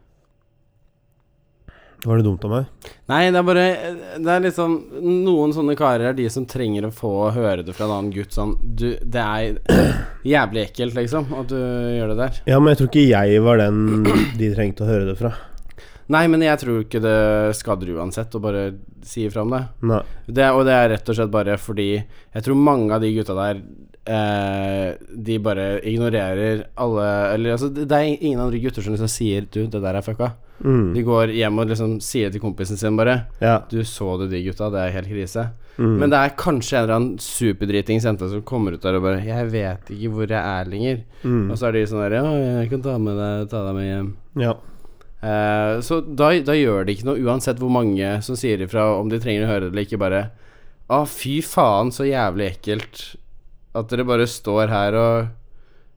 S2: Var det dumt av meg?
S1: Nei, det er bare Det er liksom Noen sånne karer er de som trenger å få høre det fra en annen gutt sånn Du, det er jævlig ekkelt, liksom, at du gjør det der.
S2: Ja, men jeg tror ikke jeg var den de trengte å høre det fra.
S1: Nei, men jeg tror ikke det skader uansett å bare si ifra om det.
S2: Nei.
S1: det. Og det er rett og slett bare fordi jeg tror mange av de gutta der eh, De bare ignorerer alle Eller altså, det det er ingen andre gutter som liksom sier 'du, det der er fucka'.
S2: Mm.
S1: De går hjem og liksom sier til kompisen sin bare
S2: Ja.
S1: 'du, så du de gutta, det er helt krise'.
S2: Mm.
S1: Men det er kanskje en eller annen superdritings jente som kommer ut der og bare 'jeg vet ikke hvor jeg er lenger'.
S2: Mm.
S1: Og så er de sånn der 'ja, jeg kan ta med deg, ta deg med hjem'.
S2: ja.
S1: Eh, så da, da gjør det ikke noe, uansett hvor mange som sier ifra om de trenger å høre det eller ikke, bare Å, fy faen, så jævlig ekkelt at dere bare står her og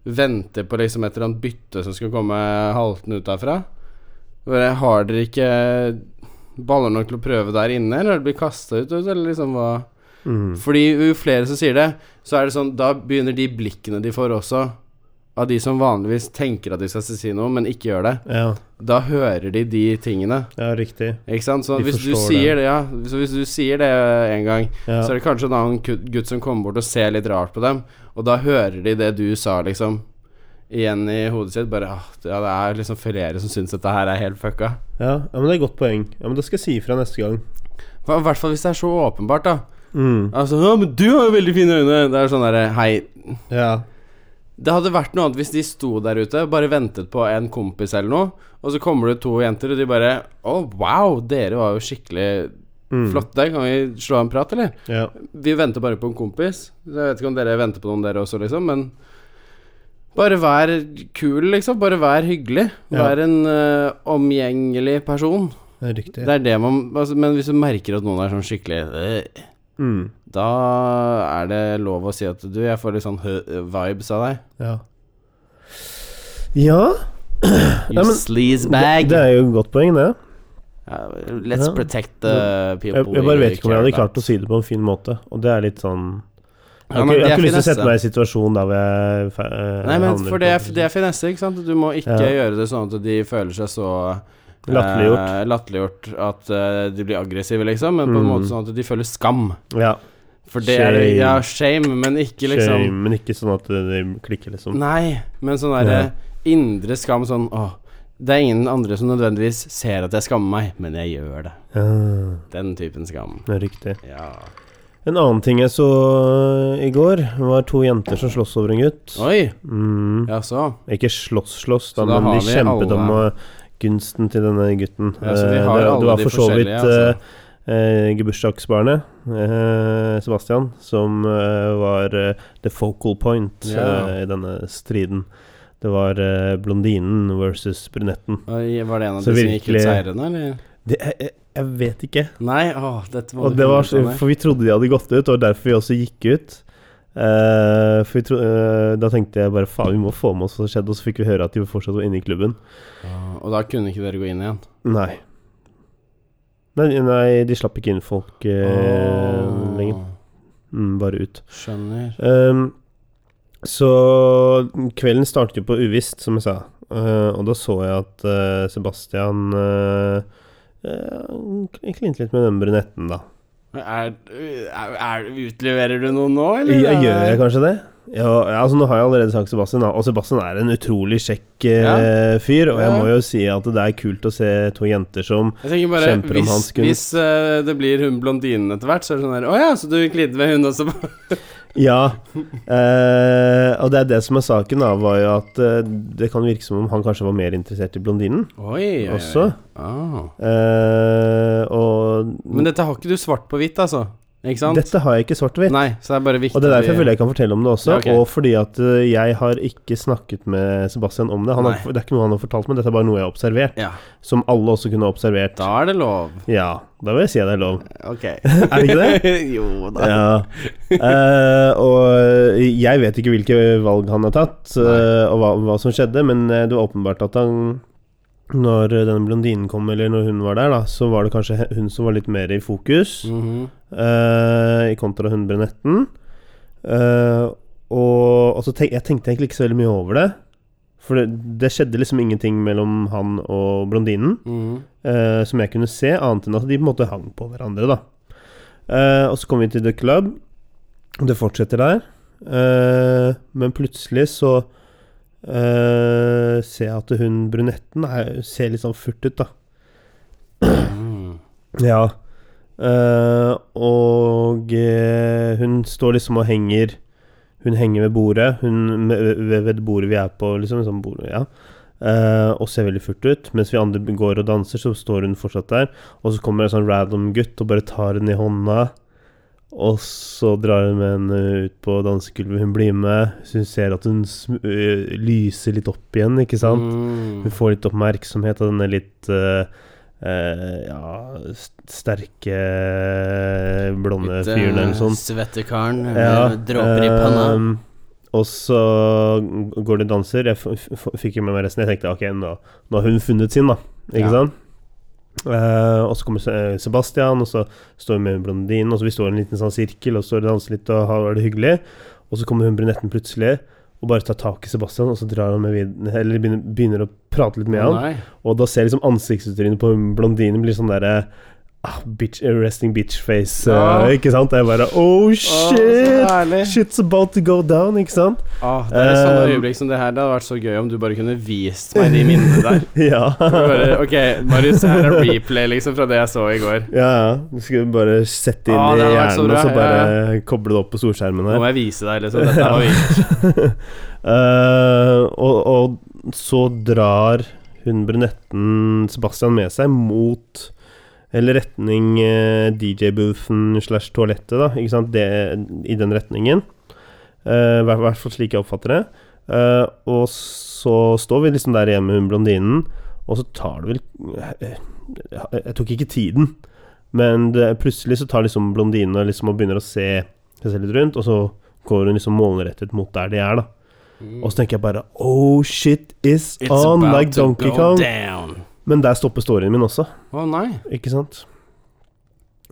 S1: venter på liksom et eller annet bytte som skal komme haltende ut derfra. Bare, har dere ikke baller nok til å prøve der inne, eller har dere blitt kasta ut, eller liksom hva
S2: Mm.
S1: Fordi jo flere som sier det, så er det sånn Da begynner de blikkene de får også, av de som vanligvis tenker at de skal si noe, men ikke gjør det
S2: ja.
S1: da hører de de tingene.
S2: Ja, riktig.
S1: Ikke sant? Så
S2: De
S1: hvis du
S2: forstår
S1: sier det, ja Så hvis du sier det en gang,
S2: Ja.
S1: så er det kanskje en annen ku- gutt som kommer bort og ser litt rart på dem, og da hører de det du sa, liksom, igjen i hodet sitt. Bare ah, ja, det er liksom flere som syns dette her er helt fucka.
S2: Ja. ja, men det er et godt poeng. Ja, men Da skal jeg si ifra neste gang.
S1: I hvert fall hvis det er så åpenbart, da.
S2: Mm.
S1: Altså, ja, men du har jo veldig fine øyne. Det er sånn derre Hei.
S2: Ja.
S1: Det hadde vært noe annet hvis de sto der ute, bare ventet på en kompis eller noe, og så kommer det to jenter, og de bare Å, wow, dere var jo skikkelig
S2: Mm.
S1: Flott der, kan vi slå en prat, eller?
S2: Ja.
S1: Vi venter bare på en kompis. Jeg vet ikke om dere venter på noen dere også, liksom, men bare vær kul, liksom. Bare vær hyggelig.
S2: Ja.
S1: Vær en eh, omgjengelig person.
S2: Det er riktig.
S1: Det er det man altså, Men hvis du merker at noen er sånn skikkelig øh,
S2: Mm.
S1: Da er det lov å si at du, jeg får litt sånn hø- vibes av deg.
S2: Ja. ja
S1: You
S2: Ja, men- det,
S1: sleazebag.
S2: det er jo et godt poeng, det.
S1: Ja, let's
S2: Ja.
S1: protect the people.
S2: Jeg, jeg bare vet ikke om jeg hadde
S1: care about.
S2: klart å si det på en fin måte. Og det er litt sånn Jeg
S1: Ja,
S2: har
S1: men
S2: ikke, jeg
S1: det
S2: har
S1: er
S2: ikke lyst til å
S1: finesse.
S2: sette meg i en situasjon der hvor jeg fe- eh,
S1: Nei, men
S2: havner
S1: for
S2: på-
S1: det er, det er finesse, ikke sant? Du må ikke
S2: Ja.
S1: gjøre det sånn at de føler seg så eh,
S2: Latterliggjort.
S1: latterliggjort at eh, de blir aggressive, liksom, men på en
S2: Mm.
S1: måte sånn at de føler skam.
S2: Ja,
S1: For det er
S2: Shame.
S1: Ja, shame, men ikke liksom
S2: shame, men ikke sånn at det det klikker, liksom.
S1: Nei, men sånn derre indre skam, sånn åh det er ingen andre som nødvendigvis ser at jeg skammer meg, men jeg gjør det.
S2: Ja,
S1: Den typen skam.
S2: det er riktig.
S1: Ja.
S2: En annen ting jeg så eh, i går, var to jenter som sloss over en gutt.
S1: Oi!
S2: Mm.
S1: Ja, så.
S2: Ikke slåss-slåss, da,
S1: Så da
S2: men
S1: har
S2: de
S1: vi
S2: kjempet
S1: alle.
S2: om eh, gunsten til denne gutten.
S1: Ja, så vi
S2: Eh,
S1: har
S2: det,
S1: alle
S2: det var
S1: de
S2: for så vidt
S1: forskjellige, altså.
S2: eh, eh, bursdagsbarnet, eh, Sebastian, som eh, var eh, the focal point
S1: Ja.
S2: eh, i denne striden. Det var eh, blondinen versus brunetten.
S1: Oi, var det en av
S2: Så
S1: de som gikk ut
S2: virkelig-
S1: seirende, eller?
S2: Det, jeg, jeg- jeg vet ikke.
S1: Nei, åh, dette må
S2: Og
S1: du
S2: det
S1: finne ut
S2: var,
S1: av
S2: så-
S1: meg.
S2: for vi trodde de hadde gått ut, og derfor vi også gikk ut. Eh, for vi tro, eh, da tenkte jeg bare faen, vi må få med oss hva som skjedde, og så fikk vi høre at de fortsatt var inne i klubben.
S1: Åh, Ah, Og da kunne ikke dere gå inn igjen?
S2: Nei. Nei, nei de slapp ikke inn folk eh,
S1: Åh,
S2: lenger. Mm, bare ut.
S1: Skjønner.
S2: Ehm, så kvelden startet jo på uvisst, som jeg sa. Eh, og da så jeg at eh, Sebastian eh, eh, klinte litt med den brunetten, da.
S1: Er, er, er, utleverer du noe nå, eller?
S2: Ja, gjør jeg kanskje det? Ja, ja, altså Nå har jeg allerede sagt Sebastian, da. og Sebastian er en utrolig kjekk eh, fyr. Og jeg
S1: Ja.
S2: må jo si at det er kult å se to jenter som
S1: Jeg tenker bare,
S2: Kjemper om
S1: hvis,
S2: hans gunst.
S1: hvis eh, det blir hun blondinen etter hvert, så er det sånn her Å ja, så du klinte med hun også?
S2: Ja, eh, og det er det som er saken, da, var jo at eh, det kan virke som om han kanskje var mer interessert i blondinen
S1: Oi, oi, oi.
S2: også.
S1: Ah.
S2: Eh, og
S1: Men dette har ikke du svart på hvitt, altså? Ikke sant?
S2: Dette har jeg ikke svart-hvitt.
S1: Nei, så det er bare viktig
S2: Og det
S1: at
S2: er derfor jeg
S1: vi-
S2: føler jeg kan fortelle om det også,
S1: Ja, ok.
S2: og fordi at eh, jeg har ikke snakket med Sebastian om det. Han har,
S1: Nei.
S2: det er ikke noe han har fortalt meg, dette er bare noe jeg har observert.
S1: Ja,
S2: Som alle også kunne ha observert.
S1: da er det lov.
S2: Ja, da vil jeg si at det er lov.
S1: Ok.
S2: Er det ikke det?
S1: jo da.
S2: Ja. Eh, og jeg vet ikke hvilke valg han har tatt, eh,
S1: Nei.
S2: og hva, hva som skjedde, men eh, det var åpenbart at han Når denne blondinen kom, eller når hun var der, da, så var det kanskje he- hun som var litt mer i fokus,
S1: Mhm.
S2: eh, i kontra hun brunetten. Eh, og, og så tenk, jeg tenkte egentlig ikke så veldig mye over det. For det, det skjedde liksom ingenting mellom han og blondinen
S1: Mhm.
S2: eh, som jeg kunne se, annet enn at de på en måte hang på hverandre, da. Eh, og så kom vi til The Club, og det fortsetter der. Eh, men plutselig så eh, ser jeg at hun brunetten er, ser litt sånn furt ut, da.
S1: Mhm.
S2: Ja. Eh, og eh, hun står liksom og henger Hun henger ved bordet. Hun, ved, ved bordet vi er på, liksom. Sånn bord, ja. Eh, og ser veldig furt ut. Mens vi andre går og danser, så står hun fortsatt der. Og så kommer en sånn random gutt og bare tar henne i hånda. Og så drar hun med henne ut på dansegulvet. Hun blir med. Så hun ser at hun sm øh, lyser litt opp igjen, ikke sant?
S1: Mhm.
S2: Hun får litt oppmerksomhet av denne litt eh, eh, ja, st- sterke blonde
S1: Litt, eh,
S2: sånn, fyren eller noe sånt.
S1: Svettekaren med
S2: Ja,
S1: dråper i panna.
S2: ehm, og så går det danser. Jeg f f fikk ikke med meg resten. Jeg tenkte ok, nå, nå har hun funnet sin, da. Ikke
S1: Ja.
S2: sant? Eh, og så kommer Se- Sebastian, og så står vi med blondinen. Og så vi står i en liten sånn sirkel og står og danser litt og har det hyggelig. Og så kommer hun brunetten plutselig og bare tar tak i Sebastian, og så drar han med vid eller begynner, begynner å prate litt med han.
S1: Nei.
S2: Og da ser jeg liksom ansiktsutrynet på blondinen blir sånn derre ah, bitch, Resting bitch face.
S1: Ja.
S2: eh, ikke sant? Og jeg bare
S1: Å,
S2: Oh
S1: Ah. så
S2: shit!
S1: herlig.
S2: Shit's about to go down, ikke sant?
S1: Ah, det er sånne
S2: Eh,
S1: øyeblikk som det her. Det hadde vært så gøy om du bare kunne vist meg de minnene der.
S2: Ja.
S1: Bare, ok, Marius, her er replay liksom fra det jeg så i går.
S2: Ja, ja. Du skulle bare sette inn
S1: Ah,
S2: i
S1: det hadde vært
S2: hjernen
S1: så bra,
S2: og så bare
S1: ja,
S2: koble det opp på storskjermen
S1: Nå
S2: her.
S1: må jeg vise deg, liksom. Dette var vi.
S2: Eh, og, og så drar hun brunetten Sebastian med seg mot Eller retning eh, DJ-boothen slash toalettet, da. Ikke sant? Det, I den retningen. Eh, I hvert hvert fall slik jeg oppfatter det. Eh, og så står vi liksom der hjemme med hun blondinen, og så tar det vel jeg, jeg, jeg tok ikke tiden, men det, plutselig så tar liksom blondinen og liksom og begynner å se seg selv litt rundt, og så går hun liksom målrettet mot der de er, da. Og så tenker jeg bare Oh shit is
S1: Mm. It's
S2: on
S1: about
S2: like
S1: to
S2: Donkey
S1: go
S2: Kong.
S1: down.
S2: Men der stopper storyen min også,
S1: Å nei.
S2: ikke sant?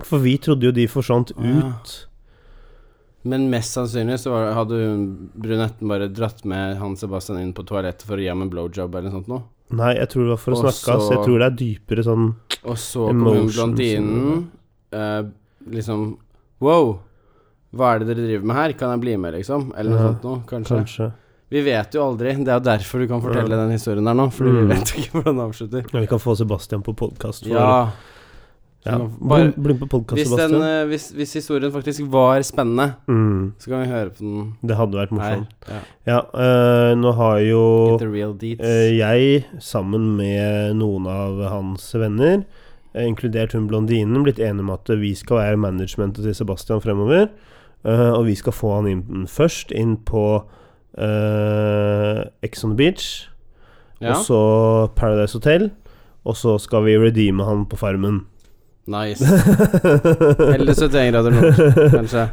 S2: For vi trodde jo de forsvant
S1: Å, ja.
S2: ut.
S1: Men mest sannsynlig så var, hadde hun brunetten bare dratt med han Sebastian inn på toalettet for å gi ham en blowjob eller noe sånt noe.
S2: Nei, jeg tror det var for å
S1: Og
S2: snakke, ass.
S1: så-
S2: Jeg tror det er dypere sånn
S1: Og så kom hun
S2: Emotions.
S1: blondinen eh, liksom Wow, hva er det dere driver med her? Kan jeg bli med, liksom? Eller noe
S2: Ja,
S1: sånt noe, kanskje.
S2: Kanskje.
S1: Vi vet jo aldri. Det er jo derfor du kan fortelle den historien der nå, for
S2: Mm.
S1: vi vet ikke hvordan det avslutter.
S2: Ja, vi kan få Sebastian på podkast.
S1: Ja,
S2: ja.
S1: Så
S2: Bli
S1: bare-
S2: bli med på podkast,
S1: hvis, den,
S2: Sebastian.
S1: eh, hvis, hvis historien faktisk var spennende,
S2: Mm,
S1: så kan vi høre på den
S2: det hadde vært
S1: her.
S2: morsomt.
S1: Ja.
S2: Ja, eh, nå har jo
S1: Get the real deets.
S2: Eh, jeg, sammen med noen av hans venner, eh, inkludert hun blondinen, blitt enige om at vi skal være managementet til Sebastian fremover. eh, og vi skal få han inn først inn på eh, Ex on the Beach,
S1: ja.
S2: og så Paradise Hotel. Og så skal vi redeeme han på Farmen.
S1: Nice. Eller 71 grader nord, kanskje.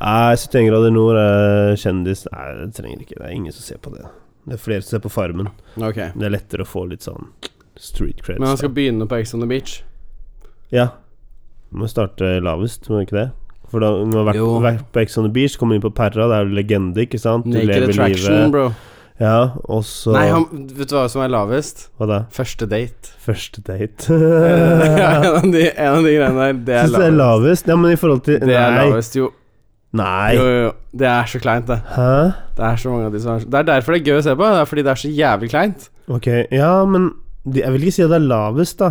S2: Nei, 71 grader nord er kjendis Nei, det trenger ikke. Det er ingen som ser på det. Det er flere som ser på Farmen.
S1: Ok.
S2: Det er lettere å få litt sånn street creds.
S1: Men han
S2: da.
S1: skal begynne på Ex on the Beach.
S2: Ja. Du må starte lavest, må du ikke det? For da du må vært,
S1: Jo.
S2: vært på Ex on the Beach, kommer inn på Perra, det er jo legende, ikke sant? Du
S1: Naked
S2: lever
S1: attraction,
S2: livet.
S1: bro.
S2: Ja, og så
S1: Nei, han, vet du hva som er lavest?
S2: Hva da?
S1: Første date.
S2: Første date.
S1: Ja, en, av
S2: Syns
S1: de, en av de greiene der, det er
S2: du det
S1: lavest.
S2: er lavest? Ja, men i forhold til
S1: Det er
S2: Nei.
S1: lavest, jo. Jo,
S2: Nei.
S1: jo, jo. Det er så kleint, det.
S2: Hæ?
S1: Det er så mange av de som er Det er derfor det er gøy å se på. Det er fordi det er så jævlig kleint.
S2: Ok, ja, men de- Jeg vil ikke si at det er lavest, da.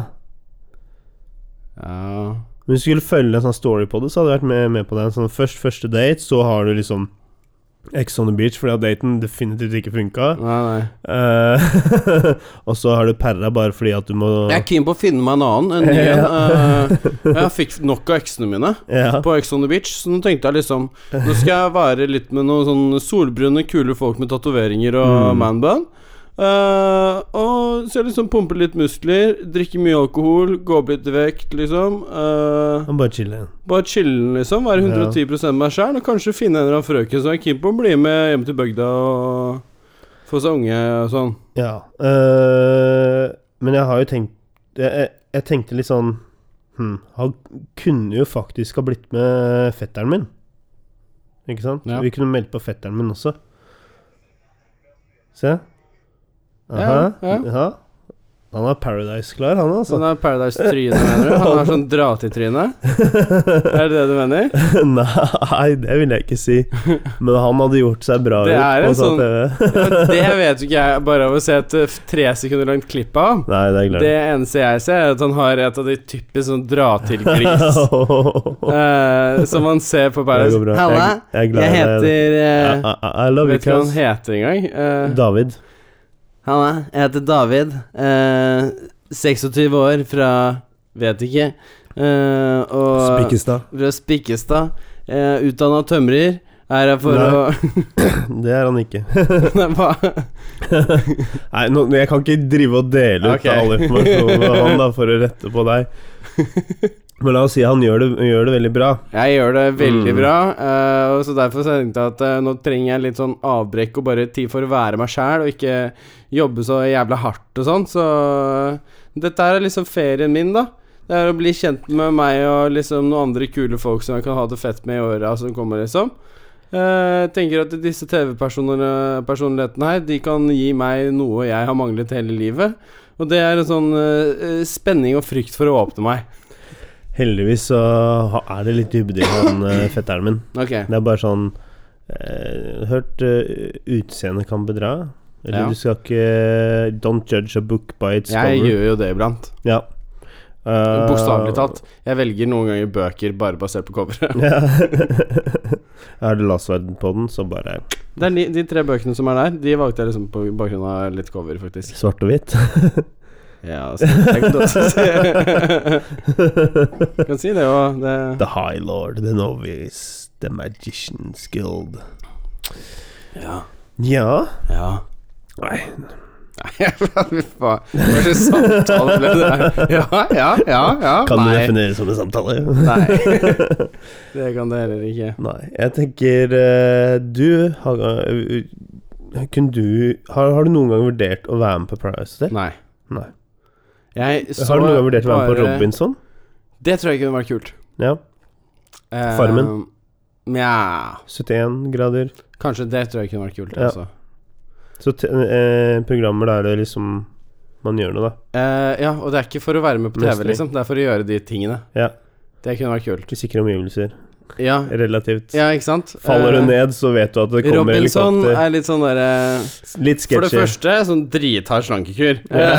S1: Ja.
S2: Men Hvis du skulle følge en sånn story på det, så hadde jeg vært med, med på det. En sånn først første date, så har du liksom Ex on the beach, fordi at daten definitivt ikke funka.
S1: Nei, nei.
S2: Eh, og så har du perra bare fordi at du må
S1: Jeg er keen på å finne meg en annen. En ny en. Eh, jeg fikk nok av eksene mine
S2: Ja.
S1: på Ex on the beach, så nå tenkte jeg liksom Nå skal jeg være litt med noen sånn solbrune, kule folk med tatoveringer og
S2: Mm.
S1: manbun. Eh, og så jeg liksom pumper litt muskler, drikker mye alkohol, går opp litt i vekt, liksom. Eh,
S2: Han bare chiller.
S1: bare chille, liksom. Være 110 meg sjæl, og kanskje finne en eller annen frøken som er keen på å bli med hjem til bygda og få seg unge og sånn.
S2: Ja. eh, men jeg har jo tenkt Jeg, jeg, jeg tenkte litt sånn hm, Han kunne jo faktisk ha blitt med fetteren min. Ikke sant?
S1: Ja.
S2: Vi kunne meldt på fetteren min også. Se. Aha.
S1: Ja,
S2: Ja,
S1: ja.
S2: Han er Paradise klar, han altså.
S1: Sånn er Paradise-tryne, mener du? Han er sånn dra-til-tryne? Er det det du mener?
S2: Nei, det vil jeg ikke si. Men han hadde gjort seg bra
S1: Det
S2: ut
S1: er
S2: på
S1: en
S2: sånn
S1: sånn-
S2: TV.
S1: Det vet jo ikke jeg bare av å se et eh, f- tre sekunder langt klipp av.
S2: Nei, det er
S1: Det eneste jeg ser, er at han har et av de typisk sånn dra-til-gris.
S2: klart.
S1: eh, som man ser på
S2: Det
S1: Paradise.
S2: går bra.
S1: Halla,
S2: jeg, er glad
S1: jeg
S2: det er-
S1: heter eh,
S2: I, I, I love you,
S1: Vet ikke hva han
S2: Kaz.
S1: heter engang. Eh,
S2: David.
S1: Halla, jeg heter David. eh, 26 år fra Vet ikke. eh, og
S2: Spikkestad.
S1: fra Spikkestad. Uh, Utdanna tømrer. Er her for
S2: Nei.
S1: å
S2: Det er han ikke.
S1: Nei, hva?
S2: Nei, nå, jeg kan ikke drive og dele ut
S1: Ok.
S2: all informasjonen av han da for å rette på deg. Men la oss si han gjør det, gjør det veldig bra.
S1: Jeg gjør det veldig
S2: Mm.
S1: bra, eh, og så derfor så tenkte jeg at eh, nå trenger jeg litt sånn avbrekk og bare tid for å være meg sjæl, og ikke jobbe så jævla hardt og sånn, så dette her er liksom ferien min, da. Det er å bli kjent med meg og liksom noen andre kule folk som jeg kan ha det fett med i åra som kommer, liksom. Eh, tenker at disse TV-personlighetene her, de kan gi meg noe jeg har manglet hele livet. Og det er en sånn eh, eh, spenning og frykt for å åpne meg.
S2: Heldigvis så ha- er det litt dybde i han eh, fetteren min.
S1: Ok.
S2: Det er bare sånn eh, Hørt eh, utseendet kan bedra. Eller
S1: Ja.
S2: du skal ikke Don't judge a book by its
S1: Jeg
S2: cover.
S1: gjør jo det iblant.
S2: Ja. Eh,
S1: Bokstavelig talt. Jeg velger noen ganger bøker bare basert på coveret.
S2: Ja. er det Lasverden på den, så bare
S1: Det er de, de tre bøkene som er der, de valgte jeg liksom på bakgrunn av litt cover, faktisk.
S2: svart og hvitt.
S1: Ja, altså, så jeg kan godt si- kan si det òg. Det
S2: The High Lord, The Novice, The Magician's Guild.
S1: Ja.
S2: Ja
S1: ja.
S2: Nei.
S1: Nei, fy faen. Hva slags samtale ble det der? Ja, ja, ja. ja.
S2: Kan du
S1: Nei.
S2: definere som en samtale?
S1: Nei. Det kan det heller ikke.
S2: Nei. Jeg tenker eh, Du har, eh, kunne du har, har du noen gang vurdert å være med på Paradise Hotel?
S1: Nei.
S2: Nei.
S1: Jeg så
S2: har du noen gang vurdert å være med på
S1: bare-
S2: Robinson?
S1: Det tror jeg kunne vært kult.
S2: Ja.
S1: Eh,
S2: Farmen?
S1: Nja
S2: 71 grader.
S1: Kanskje det tror jeg kunne vært kult.
S2: Ja.
S1: Altså.
S2: Så te, eh, programmer der det liksom Man gjør noe, da.
S1: Eh, ja, og det er ikke for å være med på TV,
S2: Mestring.
S1: liksom. Det er for å gjøre de tingene.
S2: Ja.
S1: Det kunne vært kult.
S2: I sikre omgivelser.
S1: Ja,
S2: Relativt.
S1: ja ikke sant?
S2: Faller
S1: Eh,
S2: du ned, så vet du at det kommer
S1: Robinson
S2: helikopter.
S1: er litt sånn derre
S2: Litt
S1: For det
S2: sketchy.
S1: første, sånn drithard slankekur.
S2: Ja.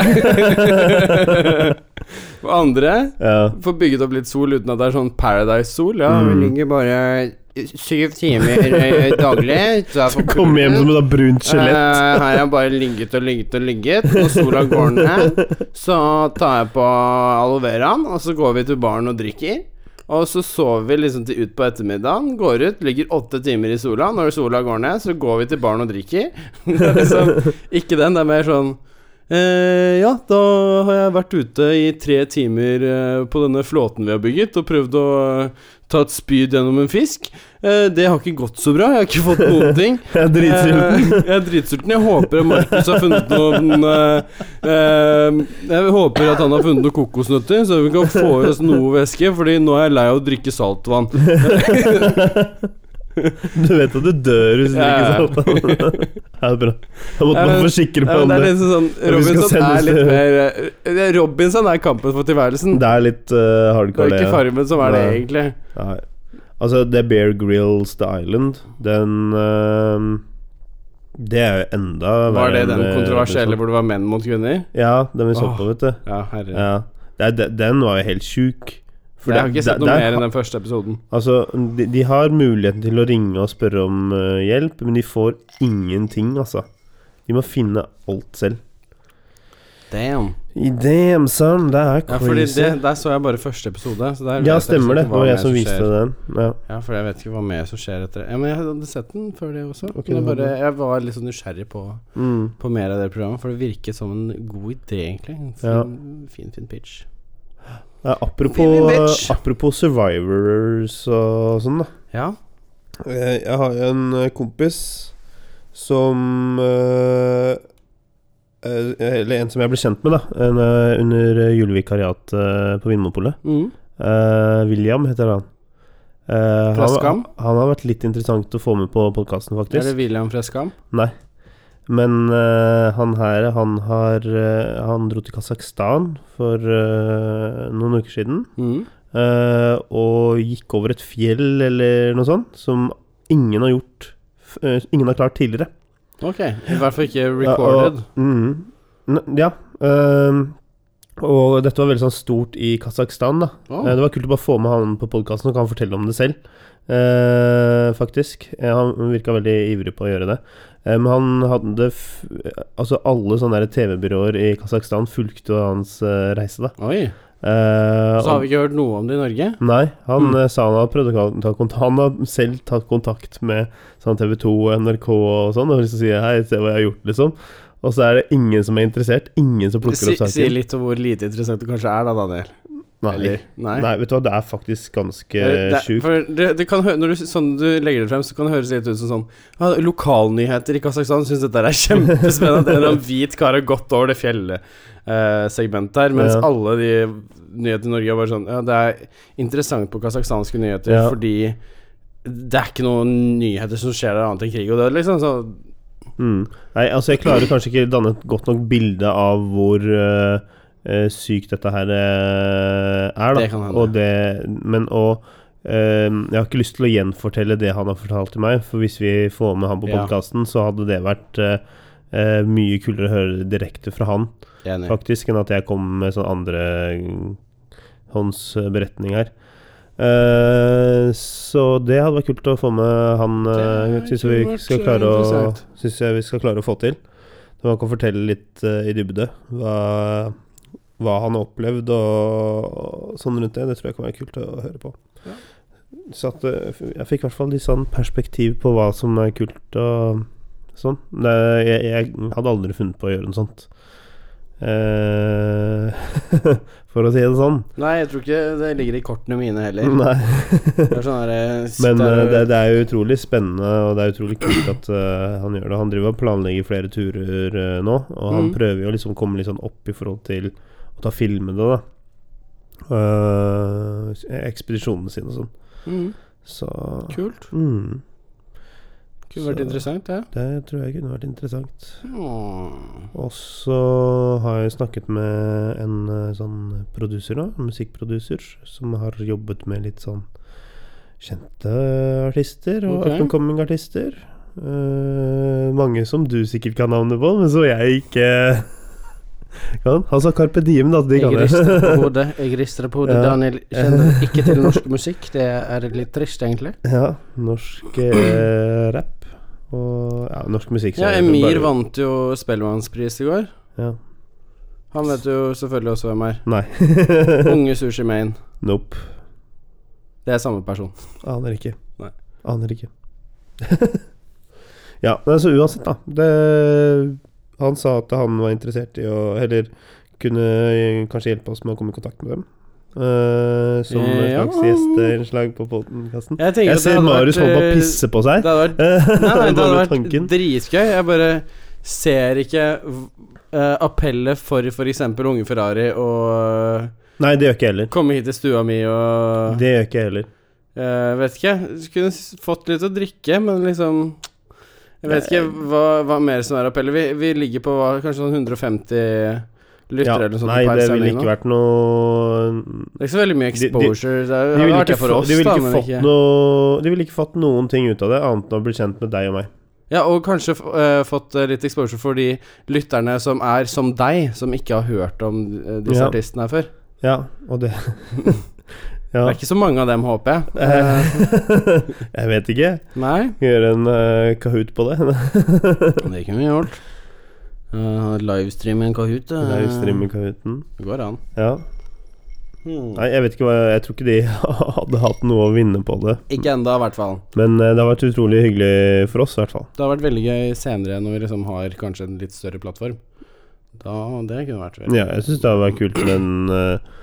S1: Eh, For andre
S2: Ja.
S1: Få bygget opp litt sol uten at det er sånn Paradise-sol. Ja,
S2: Mm.
S1: vi ligger bare syv timer eh, daglig. Så
S2: Så kommer hjem som et sånt brunt skjelett.
S1: Eh, her har jeg bare ligget og ligget og ligget. Når sola går ned, så tar jeg på aloe veraen, og så går vi til baren og drikker. Og så sover vi liksom til utpå ettermiddagen, går ut, ligger åtte timer i sola. Når sola går ned, så går vi til baren og drikker. Det er liksom, ikke den, det er mer sånn eh, ja, da har jeg vært ute i tre timer eh, på denne flåten vi har bygget, og prøvd å eh, ta et spyd gjennom en fisk. Eh, det har ikke gått så bra, jeg har ikke fått noen ting.
S2: Jeg er dritsulten.
S1: Eh, Jeg er dritsulten. Jeg håper at Markus har funnet noen eh, eh, Jeg håper at han har funnet noen kokosnøtter, så vi kan få i oss noe væske, Fordi nå er jeg lei av å drikke saltvann.
S2: Du vet at du dør hvis du
S1: Ja, ja.
S2: ikke salter. Ja, det er bra. Jeg måtte
S1: Ja,
S2: bare
S1: men-
S2: forsikre
S1: Ja,
S2: på
S1: men Eh,
S2: om
S1: det er
S2: det.
S1: liksom sånn
S2: vi
S1: Robinson
S2: skal sendes
S1: er litt
S2: til-
S1: mer eh, Robinson er kampen for tilværelsen.
S2: Det er litt eh,
S1: Det
S2: hardcore,
S1: er ikke Farmen som er det,
S2: Nei.
S1: egentlig.
S2: Nei. Altså, The Bear Grills The Island, den eh, Det er jo enda
S1: Var det den
S2: eh,
S1: kontroversielle
S2: Robinson.
S1: hvor det var menn mot kvinner?
S2: Ja, den vi så
S1: Åh.
S2: på, vet du.
S1: Ja, herre.
S2: Ja. Det er, de- den var jo helt sjuk.
S1: For jeg har
S2: det-
S1: ikke sett
S2: der-
S1: noe
S2: der
S1: mer
S2: ha-
S1: enn den første episoden.
S2: Altså, de, de har muligheten til å ringe og spørre om eh, hjelp, men de får ingenting, altså. De må finne alt selv.
S1: Damn.
S2: I damn, son, det er
S1: Ja,
S2: crazy.
S1: fordi det, der så jeg bare første episode. Så der vet
S2: Ja,
S1: jeg
S2: stemmer
S1: ikke
S2: det. Det
S1: hva
S2: var
S1: mer
S2: jeg som viste
S1: skjer.
S2: den. Ja.
S1: Ja, for jeg vet ikke hva mer som skjer etter det. Ja, men jeg hadde sett den før det også.
S2: Ok,
S1: men jeg,
S2: det var
S1: bare, jeg var litt sånn nysgjerrig på,
S2: Mm.
S1: på mer av det programmet, for det virket som en god idé, egentlig. Så
S2: Ja.
S1: en Fin, fin pitch.
S2: Ja,
S1: Women,
S2: apropos,
S1: bitch.
S2: apropos survivors og sånn, da.
S1: Ja.
S2: Eh, Jeg har jo en eh, kompis som eh, eh, Eller en som jeg ble kjent med, da. En, eh, under eh, julevikariatet eh, på Vinmonopolet.
S1: Mm.
S2: Eh, William heter han. Eh,
S1: Fra
S2: han,
S1: Skam?
S2: han har vært litt interessant å få med på podkasten,
S1: Er det
S2: faktisk.
S1: William fra Skam?
S2: Men eh, han her, han har eh, Han dro til Kasakhstan for eh, noen uker siden.
S1: Mm.
S2: eh, og gikk over et fjell eller noe sånt, som ingen har gjort f- eh, Ingen har klart tidligere.
S1: Ok. I hvert fall ikke recorded.
S2: Ja, og, mm, N- ja ehm, og dette var veldig sånn stort i Kasakhstan, da.
S1: Å.
S2: Eh, Det var kult å bare få med han på podkasten, så kan han fortelle om det selv. Eh, faktisk. Eh, han virka veldig ivrig på å gjøre det. Eh, men han hadde f Altså, alle sånne der TV-byråer i Kasakhstan fulgte jo hans eh, reise, da.
S1: Oi.
S2: Eh,
S1: Så har
S2: og-
S1: vi ikke hørt noe om det i Norge?
S2: Nei, han
S1: Mm.
S2: eh, sa han har prøvd å ta kontakt Han har selv tatt kontakt med sånn TV 2 og NRK og sånn, og liksom sier hei, se hva jeg har gjort, liksom. Og så er det ingen som er interessert. Ingen som plukker
S1: Si,
S2: opp
S1: si
S2: saken.
S1: litt om hvor lite interessant du kanskje er, da, Daniel.
S2: Nei.
S1: Eller- Nei.
S2: Nei, vet du hva, det er faktisk ganske
S1: Eh, det-
S2: sjukt.
S1: For det, det kan hø når du, s- sånn du legger det frem, så kan det høres litt ut som sånn ja, Lokalnyheter i Kasakhstan syns dette er kjempespennende. at En eller annen hvit kar har gått over det fjellsegmentet her, mens
S2: Ja.
S1: alle de nyhetene i Norge er bare sånn Ja, det er interessant på kasakhstanske nyheter
S2: Ja.
S1: fordi det er ikke noen nyheter som skjer der annet enn krig og død, liksom. Så
S2: Mm. Nei, altså jeg klarer kanskje ikke danne et godt nok bilde av hvor eh, eh, sykt dette her eh, er, da.
S1: Det kan hende.
S2: Og det, men og eh, jeg har ikke lyst til å gjenfortelle det han har fortalt til meg, for hvis vi får med han på
S1: Ja.
S2: podkasten, så hadde det vært eh, eh, mye kulere å høre det direkte fra han,
S1: jeg er enig.
S2: faktisk, enn at jeg kom med sånn andre hånds beretning her. Eh, så det hadde vært kult å få med han uh,
S1: Det
S2: Syns jeg vi
S1: kunne vært,
S2: skal
S1: eh,
S2: klare å
S1: interessant.
S2: Synes jeg vi skal klare å få til. Så han kan fortelle litt eh, i dybde hva, hva han har opplevd og, og sånn rundt det. Det tror jeg kan være kult å høre på.
S1: Ja.
S2: Så at, eh, f- jeg fikk i hvert fall litt sånn perspektiv på hva som er kult og sånn. Det, jeg, jeg hadde aldri funnet på å gjøre noe sånt. Eh, for å si det sånn.
S1: Nei, jeg tror ikke det ligger i kortene mine heller.
S2: Nei.
S1: Det er sånn der, eh,
S2: Men
S1: sitter-
S2: eh, det, det er jo utrolig spennende, og det er utrolig kult at eh, han gjør det. Han driver og planlegger flere turer eh, nå, og han
S1: Mhm.
S2: prøver jo å liksom komme litt sånn opp i forhold til å ta filmene, da. Eh, ekspedisjonene sine og sånn.
S1: mm,
S2: Så
S1: Kult.
S2: mm,
S1: Kunne vært
S2: Så-
S1: interessant, det.
S2: Det tror jeg kunne vært interessant.
S1: Åh.
S2: Og så har jeg snakket med en eh, sånn produser nå, en musikkproduser, som har jobbet med litt sånn kjente artister og
S1: Ok.
S2: up and coming artister. Eh, mange som du sikkert kan navnet på, men som jeg ikke kan. Han sa Carpe Diem, da. De kan
S1: Jeg
S2: jeg.
S1: rister på hodet, jeg rister på hodet.
S2: Ja.
S1: Daniel kjenner ikke til norsk musikk. Det er litt trist, egentlig.
S2: ja, norsk eh, rap og ja, norsk musikk. så
S1: Ja,
S2: jeg
S1: Emir
S2: bare-
S1: vant jo Spellemannspris i går.
S2: Ja.
S1: Han vet jo selvfølgelig også hvem er.
S2: Nei.
S1: Unge Sushi Main.
S2: nope.
S1: Det er samme person.
S2: Aner ikke.
S1: Nei.
S2: Aner ikke. ja, men altså uansett, da. Det, han sa at han var interessert i å Eller kunne kanskje hjelpe oss med å komme i kontakt med dem. eh, som en
S1: Ja.
S2: slags gjesterinnslag på podkasten.
S1: Jeg, tenker
S2: Jeg
S1: at det
S2: ser
S1: hadde
S2: Marius
S1: vært,
S2: holde på å
S1: eh,
S2: pisse på seg.
S1: Det hadde vært, nei, nei, det hadde vært dritgøy. Jeg bare ser ikke eh, appellet for f.eks. unge Ferrari å
S2: Nei, det gjør ikke jeg heller.
S1: komme hit til stua mi og
S2: Det gjør ikke jeg heller.
S1: Eh, Jeg vet ikke. Du kunne s- fått litt å drikke, men liksom Jeg vet ikke hva, hva mer som er appellet. Vi, vi ligger på hva, kanskje sånn 150 lyttere
S2: Ja,
S1: eller noe sånt.
S2: nei,
S1: per
S2: det ville
S1: sending nå.
S2: ikke vært noe
S1: Det er ikke så veldig mye
S2: De- de-
S1: exposure. Det er-
S2: De
S1: hadde
S2: ville
S1: vært
S2: ikke,
S1: det for
S2: få,
S1: oss,
S2: de ville
S1: da,
S2: ikke
S1: men
S2: fått
S1: ikke
S2: noe De ville ikke fått noen ting ut av det, annet enn å bli kjent med deg og meg.
S1: Ja, og kanskje f- eh, fått eh, litt exposure for de lytterne som er som deg, som ikke har hørt om eh, disse
S2: Ja.
S1: artistene her før.
S2: Ja, og det
S1: Det
S2: Ja.
S1: er ikke så mange av dem, håper jeg.
S2: Eh.
S1: Eh,
S2: jeg vet ikke.
S1: Nei,
S2: Kan gjøre en eh, Kahoot på det.
S1: det kunne vi gjort. Uh, livestream i en Kahoot. eh,
S2: Livestreame Kahooten.
S1: Det går an.
S2: Ja. Nei, jeg vet ikke hva Jeg tror ikke de hadde hatt noe å vinne på det.
S1: Ikke enda, i hvert fall.
S2: Men eh, det har vært utrolig hyggelig for oss, i hvert fall.
S1: Det har vært veldig gøy senere, når vi liksom har kanskje en litt større plattform. Da, Det kunne vært veldig
S2: Ja, jeg syns det hadde vært kult med en eh,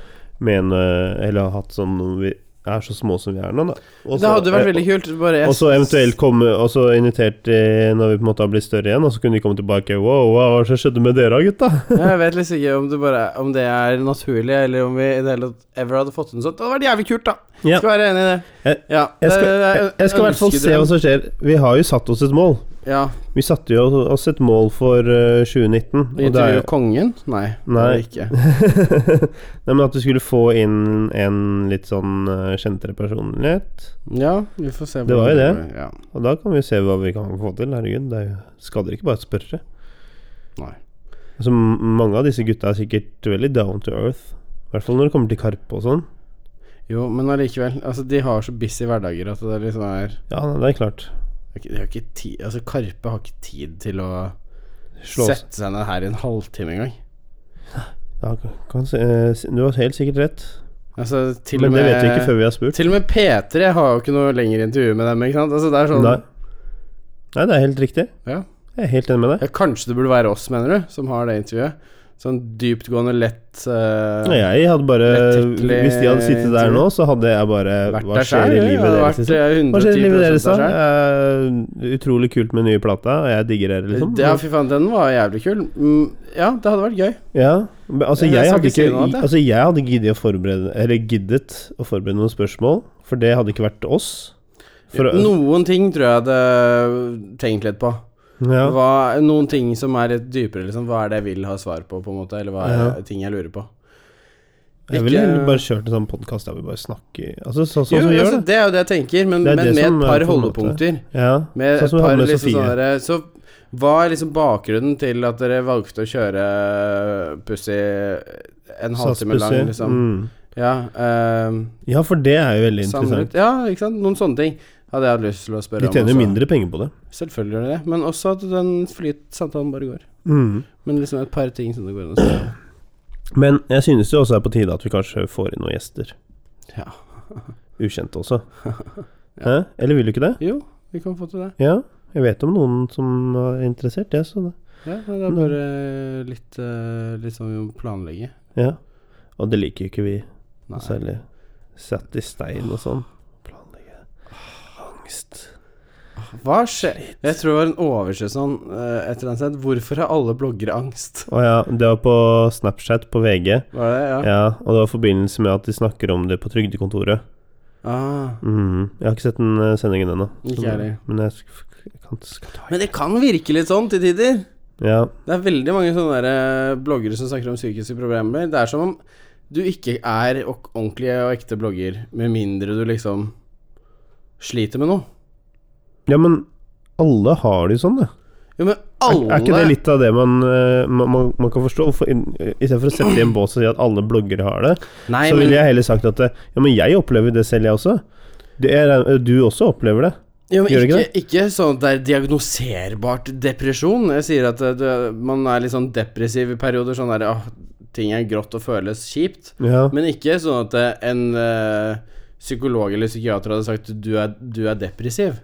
S2: med en, eh, Eller ha hatt sånn når Vi er så små som vi er nå, da. Også-
S1: Det hadde vært veldig kult. Bare jeg-
S2: eh, Og så eventuelt komme Og så invitert eh, når vi på en måte har blitt større igjen, og så kunne de komme tilbake. Wow, wow, hva skjedde med dere, gutta?
S1: Ja, Jeg vet liksom ikke om det, bare, om det er naturlig, eller om vi i det hele tatt ever hadde fått en sånn. Det hadde vært jævlig kult, da.
S2: Ja.
S1: Skal Eh, være enig i det.
S2: Jeg-
S1: ja.
S2: Jeg skal,
S1: det- det er
S2: jeg, jeg skal i hvert fall se hva
S1: ønskedrøm.
S2: som skjer. Vi har jo satt oss et mål.
S1: Ja.
S2: Vi satte jo oss et mål for eh, 2019.
S1: Vi
S2: og det er
S1: intervjuer
S2: jo
S1: kongen? Nei.
S2: Nei.
S1: Det er det ikke.
S2: Nei, men at vi skulle få inn en litt sånn eh, kjentere personlighet.
S1: Ja, vi får se.
S2: Det var jo
S1: hvordan går. Ja.
S2: Og da kan vi se hva vi kan få til. Herregud, det er jo- skader ikke bare å spørre.
S1: Nei.
S2: Altså, m- mange av disse gutta er sikkert veldig down to earth. I hvert fall når det kommer til Karpe og sånn.
S1: Jo, men allikevel. Altså, de har så busy hverdager at det liksom er
S2: Ja, nei, det er klart.
S1: det er ikke- De har ikke tid Altså, Karpe har ikke tid til å
S2: Slå oss.
S1: sette seg ned her i en halvtime engang.
S2: Ja, kan, se- eh, s- du har helt sikkert rett.
S1: Altså, til
S2: Men
S1: og
S2: det
S1: med
S2: vet vi ikke før vi har spurt.
S1: Til og med P3 har jo ikke noe lengre intervju med dem, ikke sant? Altså, det er sånn
S2: Nei. nei, det er helt riktig.
S1: Ja.
S2: Jeg er helt enig med deg.
S1: Ja, kanskje det burde være oss, mener du, som har det intervjuet? Sånn dyptgående, lett eh,
S2: Nei, Jeg hadde bare
S1: Lettrykkelig
S2: Hvis de hadde sittet der nå, så hadde jeg bare
S1: Vært
S2: Hva
S1: der
S2: skjer
S1: selv,
S2: i
S1: ja,
S2: livet
S1: ja,
S2: deres?
S1: vært,
S2: liksom?
S1: eh,
S2: Hva skjer i
S1: 110%
S2: livet deres,
S1: der
S2: da?
S1: selv.
S2: Eh, utrolig kult med nye plata. Jeg digger dere, liksom.
S1: Ja, fy faen, den var jævlig kul. Mm, ja, det hadde vært gøy.
S2: Ja, men altså
S1: Jeg
S2: jeg,
S1: skal
S2: hadde
S1: ikke si
S2: ikke,
S1: noe annet, jeg.
S2: altså jeg hadde giddet å forberede Eller giddet å forberede noen spørsmål, for det hadde ikke vært oss. For,
S1: Noen ting tror jeg jeg hadde tenkt litt på.
S2: ja,
S1: Hva, noen ting som er litt dypere, liksom. Hva er det jeg vil ha svar på, på en måte? Eller hva er
S2: Ja.
S1: ting jeg lurer på?
S2: jeg ville
S1: ikke-
S2: heller bare kjørt en sånn podkast der vi bare snakker Altså sånn
S1: jo,
S2: som vi gjør
S1: altså,
S2: det.
S1: det er jo det jeg tenker, men,
S2: Det er
S1: men
S2: det
S1: med
S2: som
S1: et
S2: er
S1: par
S2: på en måte-
S1: holdepunkter.
S2: Ja,
S1: Med
S2: sånn som
S1: et
S2: vi
S1: par
S2: hadde med
S1: liksom
S2: Sofie.
S1: sånne der- Så hva er liksom bakgrunnen til at dere valgte å kjøre eh, Pussy en halvtime lang,
S2: Satspussig.
S1: liksom?
S2: Mm.
S1: Ja, ehm,
S2: Ja, for det er jo veldig interessant.
S1: samlet Ja, ikke sant? Noen sånne ting hadde jeg hatt lyst til å spørre
S2: De tjener
S1: også.
S2: mindre penger på det.
S1: Selvfølgelig gjør de det, men også at den flyt samtalen bare går.
S2: Mm.
S1: Men liksom et par ting som det går an å spørre om.
S2: Men jeg synes det også er på tide at vi kanskje får inn noen gjester.
S1: Ja.
S2: Ukjente også. Hæ? Eller vil du ikke det?
S1: Jo, vi kan få til det.
S2: Ja, jeg vet om noen som er interessert, jeg, så det.
S1: Ja, det
S2: Mm.
S1: er bare litt, eh, litt sånn vi må planlegge.
S2: Ja. Og det liker jo ikke vi
S1: Nei.
S2: særlig. Satt i stein og sånn. Planlegge angst.
S1: Hva skjer? Jeg tror det var en oversesong eh, et eller annet sted. Hvorfor har alle bloggere angst?
S2: Å ja, det var på Snapchat på VG.
S1: Var det ja?
S2: Ja, og det var i forbindelse med at de snakker om det på Trygdekontoret.
S1: Ah,
S2: Mhm. Jeg har ikke sett den eh, sendingen ennå.
S1: Ikke
S2: Så-
S1: jeg heller.
S2: Men jeg sk- jeg kan skal ta
S1: men det kan virke litt sånn til tider.
S2: Ja.
S1: Det er veldig mange sånne der eh, bloggere som snakker om psykiske problemer. Det er som om du ikke er ok- ordentlig og ekte blogger, med mindre du liksom sliter med noe.
S2: ja, men alle har det jo sånn, det.
S1: Jo, men
S2: Er,
S1: alle
S2: er ikke det litt av det man, eh, man, man, man kan forstå? Hvorfor inn- Istedenfor å sette i en bås og si at alle bloggere har det,
S1: Nei,
S2: så
S1: men,
S2: ville jeg heller sagt at eh, Ja, men jeg opplever det selv, jeg også. Det er, eh, du også opplever det.
S1: jo, men
S2: gjør det
S1: ikke,
S2: ikke
S1: ikke sånn at det er diagnoserbart depresjon. Jeg sier at eh, du, man er litt sånn depressiv i perioder. Sånn der åh, ting er grått og føles kjipt.
S2: Ja.
S1: Men ikke sånn at eh, en eh, psykolog eller psykiater hadde sagt du er, du er depressiv.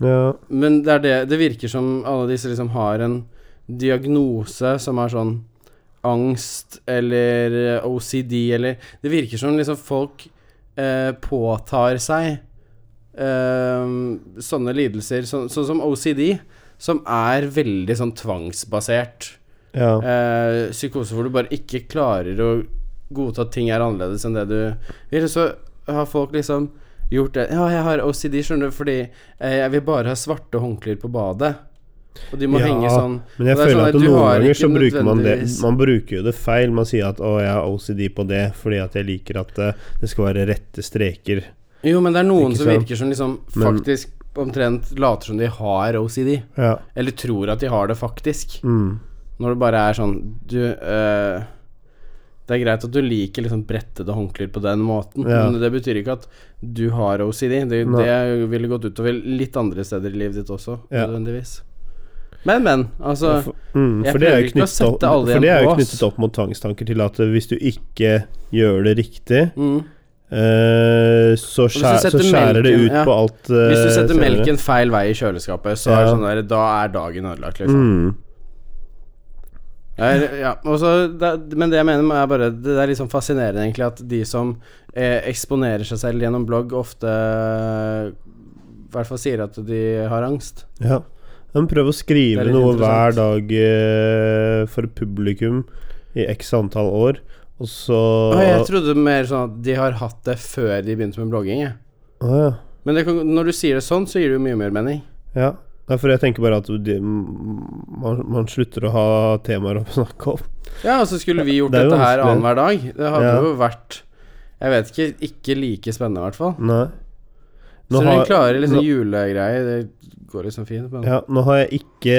S2: ja.
S1: Men det, er det, det virker som alle disse liksom har en diagnose som er sånn angst eller eh, OCD eller Det virker som liksom folk eh, påtar seg eh, sånne lidelser, sånn- sånn som OCD, som er veldig sånn tvangsbasert.
S2: ja.
S1: Eh, psykose hvor du bare ikke klarer å godta at ting er annerledes enn det du vil. Så har folk liksom gjort det Ja, jeg har OCD, skjønner du, fordi eh, jeg vil bare ha svarte håndklær på badet. Og de må
S2: Ja,
S1: henge sånn. Og
S2: Men jeg
S1: det er
S2: føler
S1: sånn
S2: at
S1: at du
S2: noen
S1: har
S2: ganger
S1: ikke
S2: så bruker man det
S1: nødvendigvis-
S2: Man bruker jo det feil. Man sier at 'å, jeg har OCD på det fordi at jeg liker at eh, det skal være rette streker'.
S1: Jo, men det er noen
S2: Ikke
S1: som
S2: sant?
S1: virker som liksom
S2: Men-
S1: faktisk omtrent later som de har OCD.
S2: Ja.
S1: Eller tror at de har det faktisk.
S2: Mm.
S1: Når det bare er sånn Du, eh, Det er greit at du liker liksom brettede håndklær på den måten,
S2: Ja.
S1: men det betyr ikke at du har OCD. Det,
S2: Nei.
S1: det ville gått utover litt andre steder i livet ditt også,
S2: Ja.
S1: nødvendigvis. Men, men. Altså
S2: for, mm,
S1: jeg
S2: for det er
S1: prøver
S2: jo
S1: ikke å
S2: knyttet, opp,
S1: sette alle
S2: for
S1: igjen
S2: det er jo
S1: på oss.
S2: knyttet opp mot tvangstanker til at eh, hvis du ikke gjør det riktig,
S1: mm.
S2: eh, så,
S1: du
S2: skjæ, så
S1: setter
S2: skjærer det
S1: melken-
S2: ut
S1: ja.
S2: på alt eh,
S1: Hvis du setter
S2: senere.
S1: melken feil vei i kjøleskapet, så er det
S2: Ja.
S1: sånn der, da er dagen ødelagt, liksom.
S2: mm.
S1: Det er- ja, og så det, men det jeg mener, er bare Det er litt sånn fascinerende, egentlig, at de som eh, eksponerer seg selv gjennom blogg, ofte i hvert fall sier at de har angst.
S2: Ja. Men prøv å
S1: Det
S2: skrive
S1: er litt
S2: noe hver
S1: interessant.
S2: dag eh, for publikum i x antall år, og så
S1: Og jeg trodde mer sånn at de har hatt det før de begynte med blogging. Jeg.
S2: Å, ja.
S1: Men det kan, når du sier det sånn, så gir det jo mye mer mening.
S2: ja. Nei, for jeg tenker bare at de, man, man slutter å ha temaer å snakke om.
S1: Ja, og så skulle vi gjort
S2: Det er jo
S1: dette her
S2: vanskelig.
S1: annenhver dag. Det hadde
S2: Ja.
S1: jo vært Jeg vet ikke, ikke like spennende, i hvert fall.
S2: Nei.
S1: Så når
S2: har-
S1: du klarer liksom
S2: nå,
S1: julegreier, det går liksom fint. Men
S2: ja, nå har jeg ikke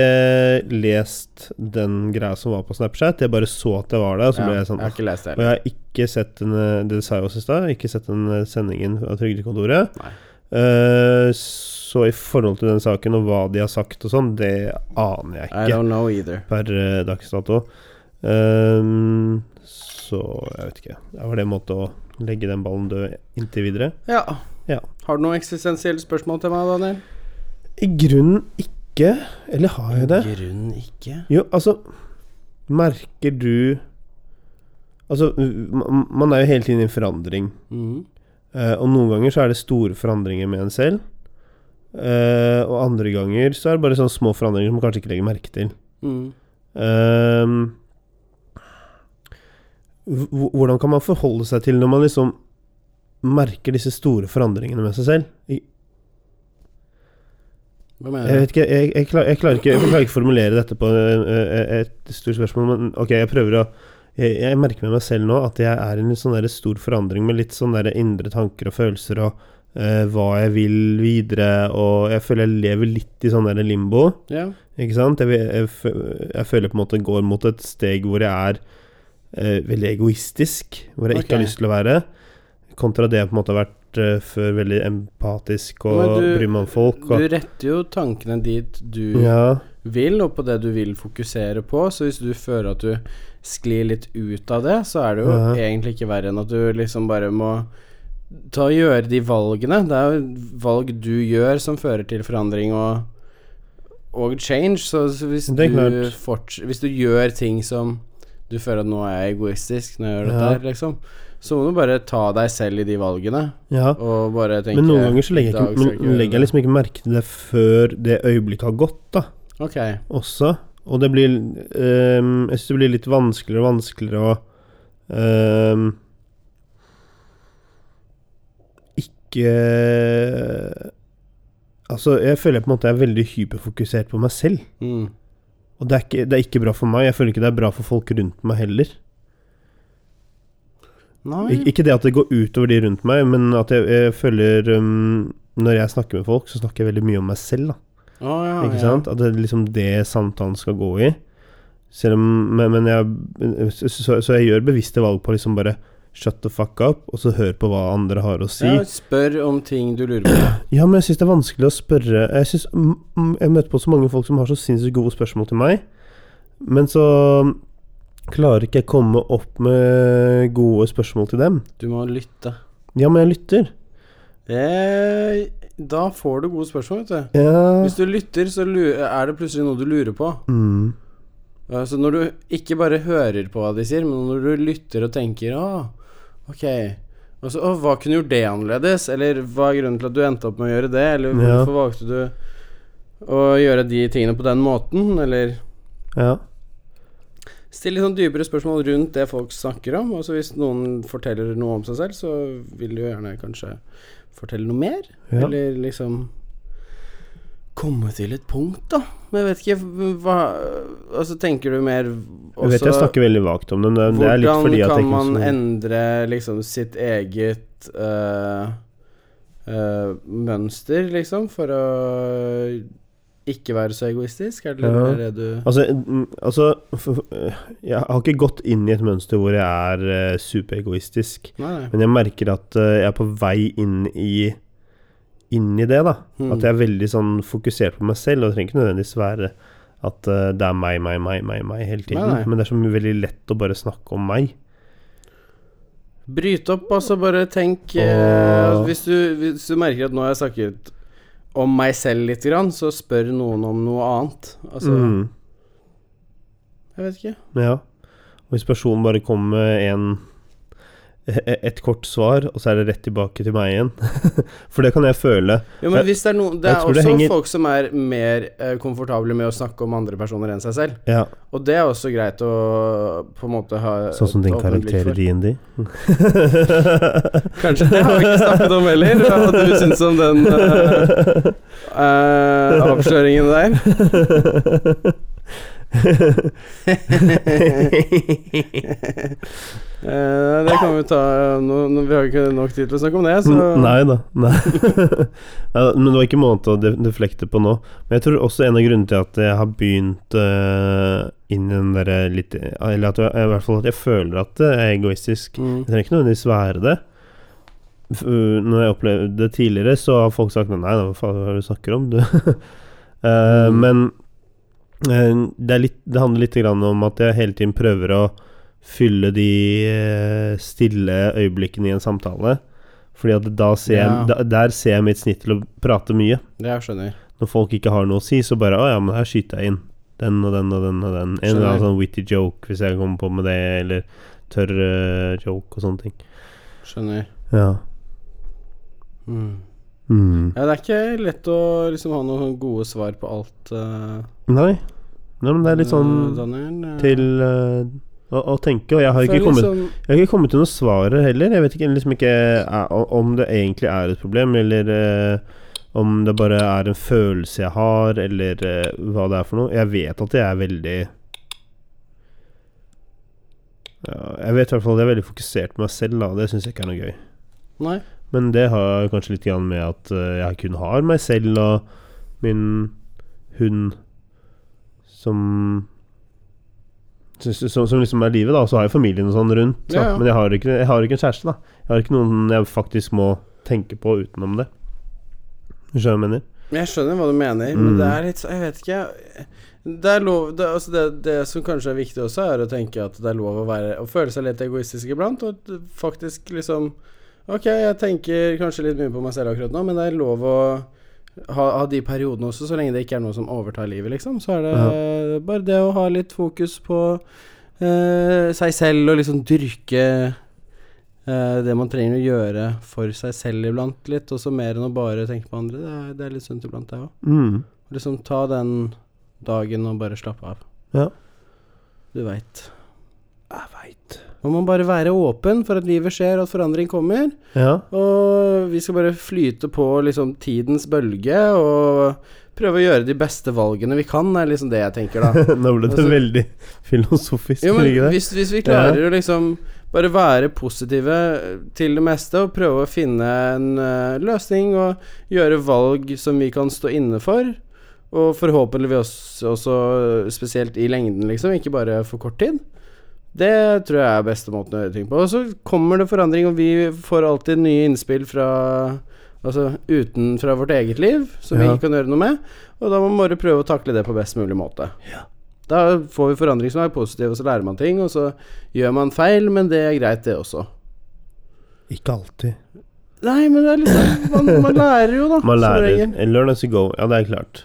S2: lest den greia som var på Snapchat. Jeg bare så at det var der, og så
S1: Ja,
S2: ble jeg sånn
S1: har ikke lest det
S2: Og
S1: heller.
S2: jeg har ikke sett den eh, Det sa jeg også i stad. Ikke sett den eh, sendingen av Trygdekontoret.
S1: Nei.
S2: Eh, så i forhold til den saken og hva de har sagt og sånn, det aner jeg
S1: I
S2: ikke
S1: don't know either.
S2: per eh, dags dato. Ehm, så jeg vet ikke. Det var det en måte å legge den ballen død inntil videre.
S1: Ja.
S2: Ja.
S1: Har du noe eksistensielle spørsmål til meg, Daniel?
S2: I grunnen ikke. Eller har jeg det?
S1: Grunnen ikke.
S2: Jo, altså Merker du Altså, man- man er jo hele tiden i forandring.
S1: Mhm.
S2: Eh, og noen ganger så er det store forandringer med en selv. Eh, og andre ganger så er det bare sånne små forandringer som man kanskje ikke legger merke til.
S1: Mhm.
S2: Ehm, hv- hvordan kan man forholde seg til når man liksom merker disse store forandringene med seg selv? Jeg,
S1: Hva mener
S2: jeg
S1: du?
S2: vet ikke, jeg, jeg, klar, jeg, klarer ikke jeg klarer ikke å formulere dette på eh, eh, et stort spørsmål, men ok, jeg prøver å jeg, jeg merker med meg selv nå at jeg er i en litt sånn der stor forandring med litt sånn der indre tanker og følelser og eh, hva jeg vil videre, og jeg føler jeg lever litt i sånn der limbo.
S1: Ja.
S2: Ikke sant? Jeg, jeg, fø- jeg føler på en måte går mot et steg hvor jeg er eh, veldig egoistisk, hvor jeg ikke har
S1: Ok.
S2: lyst til å være, kontra det jeg på en måte har vært eh, før veldig empatisk og
S1: Men du-
S2: bryr meg om folk.
S1: Du
S2: Og,
S1: retter jo tankene dit du
S2: ja,
S1: vil, og på det du vil fokusere på. Så hvis du føler at du sklir litt ut av det, så er det jo
S2: Ja.
S1: egentlig ikke verre enn at du liksom bare må ta og gjøre de valgene. Det er jo valg du gjør som fører til forandring og, og change. Så så hvis
S2: Det
S1: du,
S2: er klart.
S1: forts hvis du gjør ting som du føler at nå er jeg egoistisk når jeg gjør dette
S2: Ja.
S1: her, liksom, så må du bare ta deg selv i de valgene
S2: ja.
S1: og bare tenke
S2: Men noen ganger så legger
S1: "I dag
S2: jeg,
S1: skal
S2: ikke,
S1: ikke
S2: men,
S1: gjøre
S2: legger jeg
S1: det."
S2: liksom ikke merke til det før det øyeblikket har gått, da,
S1: Ok.
S2: også. Og det blir ehm, Jeg syns det blir litt vanskeligere og vanskeligere å ehm, Ikke Altså, jeg føler på en måte jeg er veldig hyperfokusert på meg selv.
S1: Mm.
S2: Og det er, ikke, det er ikke bra for meg. Jeg føler ikke det er bra for folk rundt meg heller.
S1: Nei.
S2: Ik ikke det at det går utover de rundt meg, men at jeg, jeg føler ehm, Når jeg snakker med folk, så snakker jeg veldig mye om meg selv, da.
S1: Å, ja,
S2: Ikke
S1: Ah, ja.
S2: sant? At det er liksom det samtalen skal gå i. Selv om, men, men jeg, så, så jeg gjør bevisste valg på liksom bare shut the fuck up, og så hør på hva andre har å si.
S1: Ja, spør om ting du lurer på.
S2: Ja, men jeg syns det er vanskelig å spørre Jeg synes, mm, mm, jeg møter på så mange folk som har så sinnssykt gode spørsmål til meg, men så um, klarer ikke jeg komme opp med gode spørsmål til dem.
S1: Du må lytte.
S2: Ja, men jeg lytter.
S1: Eh, da får du gode spørsmål, vet du.
S2: Ja
S1: Hvis du lytter, så lu- er det plutselig noe du lurer på.
S2: mm.
S1: Eh, Så når du ikke bare hører på hva de sier, men når du lytter og tenker Å, ok. Og så, «Å, hva kunne gjort det annerledes? Eller hva er grunnen til at du endte opp med å gjøre det? Eller
S2: Ja.
S1: hvorfor valgte du å gjøre de tingene på den måten? Eller
S2: Ja.
S1: Still litt sånn dypere spørsmål rundt det folk snakker om. Og så hvis noen forteller noe om seg selv, så vil du jo gjerne kanskje fortelle noe mer.
S2: ja.
S1: Eller liksom komme til et punkt, da. Men jeg vet ikke hva Altså, tenker du mer også
S2: Jeg vet jeg snakker veldig vagt om det, men det er litt
S1: Hvordan
S2: fordi at jeg ikke
S1: kan man
S2: så-
S1: endre liksom sitt eget eh, eh, mønster, liksom, for å Ikke være så egoistisk? Er det
S2: Ja.
S1: det du
S2: Altså, mm, altså f- f- Jeg har ikke gått inn i et mønster hvor jeg er eh, superegoistisk.
S1: Nei, nei.
S2: Men jeg merker at eh, jeg er på vei inn i Inn i det, da.
S1: Mm.
S2: At jeg er veldig sånn fokusert på meg selv, og det trenger ikke nødvendigvis være at eh, det er meg, meg, meg, meg, meg hele tiden.
S1: Nei, nei.
S2: Men det er så veldig lett å bare snakke om meg.
S1: Bryt opp, altså. Bare tenk eh,
S2: Åh.
S1: hvis, du, hvis du merker at nå har jeg snakket om meg selv lite grann, så spør noen om noe annet. Altså
S2: Mm.
S1: Jeg vet ikke.
S2: Ja. Og hvis personen bare kommer med en e- et kort svar, og så er det rett tilbake til meg igjen. For det kan jeg føle.
S1: Jo, men
S2: Jeg-
S1: hvis det er noen Det
S2: jeg
S1: er
S2: tror
S1: også
S2: det henger-
S1: folk som er mer eh, komfortable med å snakke om andre personer enn seg selv.
S2: Ja,
S1: Og det er også greit å på en måte ha
S2: Sånn som
S1: et
S2: din
S1: åpent
S2: karakter i
S1: blikk for.
S2: DND.
S1: Kanskje det har vi ikke snakket om heller, hva du syns om den eh, eh, avsløringen der. Eh, det kan vi ta nå, nå, Vi har jo ikke nok tid til å snakke om det, så
S2: Nei da. Nei. Nei da, Men det var ikke måte å de- deflekte på nå. Men jeg tror også en av grunnene til at jeg har begynt eh, inn i den derre litt eh, Eller at jeg, i hvert fall at jeg føler at det er egoistisk.
S1: Mm.
S2: Jeg trenger ikke nødvendigvis være det. F- uh, Når jeg opplevde det tidligere, så har folk sagt Nei, nei, hva faen hva er det du snakker om, du? Eh,
S1: Mm.
S2: Men eh, det, er litt, det handler litt grann om at jeg hele tiden prøver å fylle de eh, stille øyeblikkene i en samtale. Fordi at da ser jeg,
S1: Ja.
S2: da, der ser jeg mitt snitt til å prate mye.
S1: Det jeg skjønner
S2: Når folk ikke har noe å si, så bare Å ja, men her skyter jeg inn. Den og den og den og den. En eller annen
S1: Skjønner.
S2: sånn witty joke, hvis jeg kommer på med det, eller tørr eh, joke og sånne ting.
S1: Skjønner.
S2: Ja.
S1: Mm.
S2: Mm.
S1: Ja, det er ikke lett å liksom ha noen gode svar på alt. eh,
S2: Nei. Nei, men det er litt
S1: eh,
S2: sånn
S1: Daniel, eh.
S2: til eh, å, å tenke, og jeg har,
S1: For
S2: ikke kommet,
S1: liksom-
S2: jeg har ikke kommet til noe svar heller. Jeg vet ikke, liksom ikke eh, om det egentlig er et problem, eller eh, om det bare er en følelse jeg har, eller eh, hva det er for noe. Jeg vet at jeg er veldig ja, Jeg vet i hvert fall at jeg er veldig fokusert på meg selv, da. og Det syns jeg ikke er noe gøy.
S1: Nei.
S2: Men det har kanskje litt grann med at eh, jeg kun har meg selv og min hund som som, som liksom er livet, da. Og så har jeg familien og sånn rundt. Da.
S1: Ja, ja.
S2: Men jeg har, ikke, jeg har ikke en kjæreste, da. Jeg har ikke noen jeg faktisk må tenke på utenom det. Skjønner du hva jeg mener?
S1: Men Jeg skjønner hva du mener, men
S2: Mm.
S1: det er litt så Jeg vet ikke. Det er lov det, altså det, det som kanskje er viktig også, er å tenke at det er lov å være Å føle seg litt egoistisk iblant, og at du faktisk liksom Ok, jeg tenker kanskje litt mye på meg selv akkurat nå, men det er lov å ha, ha de periodene også, så lenge det ikke er noe som overtar livet, liksom. Så er det bare det å ha litt fokus på eh, seg selv, og liksom dyrke eh, det man trenger å gjøre for seg selv iblant, litt, og så mer enn å bare tenke på andre. Det er, det er litt sunt iblant, det òg.
S2: Mm.
S1: Liksom ta den dagen og bare slappe av.
S2: Ja.
S1: Du veit. Jeg veit. Man må bare være åpen for at livet skjer, og at forandring kommer.
S2: Ja.
S1: Og vi skal bare flyte på liksom tidens bølge og prøve å gjøre de beste valgene vi kan, er liksom det jeg tenker, da.
S2: Nå ble det
S1: Altså-
S2: veldig filosofisk.
S1: Jo, men
S2: ikke det?
S1: hvis, hvis vi klarer å liksom bare være positive til det meste og prøve å finne en eh, løsning og gjøre valg som vi kan stå inne for, og forhåpentligvis også, også eh, spesielt i lengden, liksom, ikke bare for kort tid. Det tror jeg er beste måten å gjøre ting på. Og så kommer det forandring, og vi får alltid nye innspill fra Altså utenfra vårt eget liv, som vi
S2: Ja.
S1: ikke kan gjøre noe med. Og da må man bare prøve å takle det på best mulig måte. Da får vi forandring som er positiv, og så lærer man ting, og så gjør man feil, men det er greit, det også.
S2: Ikke alltid.
S1: Nei, men det er liksom Man, man lærer jo, da.
S2: Man
S1: som
S2: lærer.
S1: regel.
S2: Learn as you go. Ja, det er klart.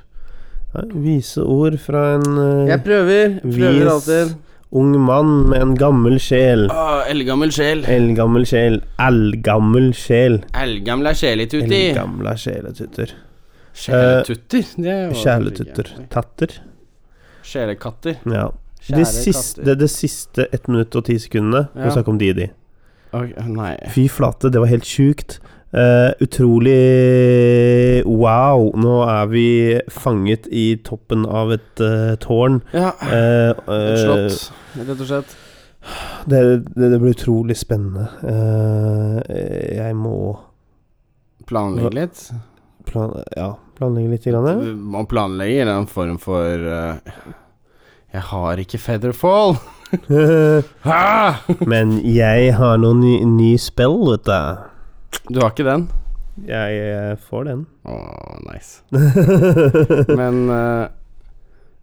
S2: Nei, vise ord fra en eh,
S1: Jeg prøver. Prøver
S2: Vis.
S1: alltid.
S2: Ung mann med en gammel sjel.
S1: Ah, Eldgammel sjel.
S2: Eldgammel sjel. Eldgammel sjel.
S1: Eldgamla sjeletutti.
S2: Eldgamla sjeletutter.
S1: Sjeletutter? Det var
S2: Kjæletutter.
S1: ikke-
S2: Tatter.
S1: Sjelekatter.
S2: Ja.
S1: Kjære
S2: De siste,
S1: katter.
S2: det, det siste 1 minutt og 10 sekundene Vi
S1: Ja.
S2: snakker om de de.
S1: Oi, Nei.
S2: Fy flate, det var helt sjukt. Eh, utrolig wow. Nå er vi fanget i toppen av et eh, tårn.
S1: Ja.
S2: Eh, eh,
S1: Ah, Et slott, rett og slett.
S2: det, det, det blir utrolig spennende. Eh, jeg må
S1: Planlegg litt.
S2: plan, Ja, Planlegge litt. Grann, ja.
S1: Man planlegger en eller annen form for eh, Jeg har ikke Featherfall! Ha!
S2: Men jeg har noen ny, ny spill, vet du.
S1: Du har ikke den?
S2: Jeg eh, får den.
S1: Å, nice. Men eh,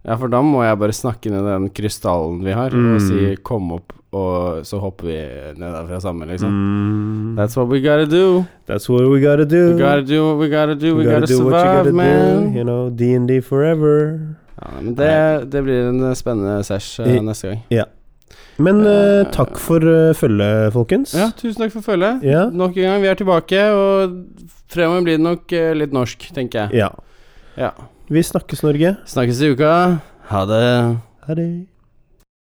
S1: Ja, for da må jeg bare snakke ned den krystallen vi har, og
S2: Mm.
S1: si 'kom opp', og så hopper vi ned derfra sammen, liksom.
S2: Mm.
S1: That's what we gotta do.
S2: That's what we gotta do.
S1: We gotta do, Mm. we gotta do, we
S2: You
S1: gotta,
S2: do what you
S1: survive,
S2: gotta do,
S1: man.
S2: You know, D&D forever.
S1: Ja, men det, det blir en eh, spennende sesh eh,
S2: I-
S1: neste gang.
S2: Men
S1: Eh,
S2: eh, takk for eh, følget, folkens.
S1: Ja, tusen takk for følget.
S2: Ja.
S1: Nok en gang, vi er tilbake, og fremover blir det nok eh, litt norsk, tenker jeg.
S2: ja.
S1: Ja.
S2: Vi snakkes, Norge.
S1: Snakkes i uka. Ha det.
S2: Ha det.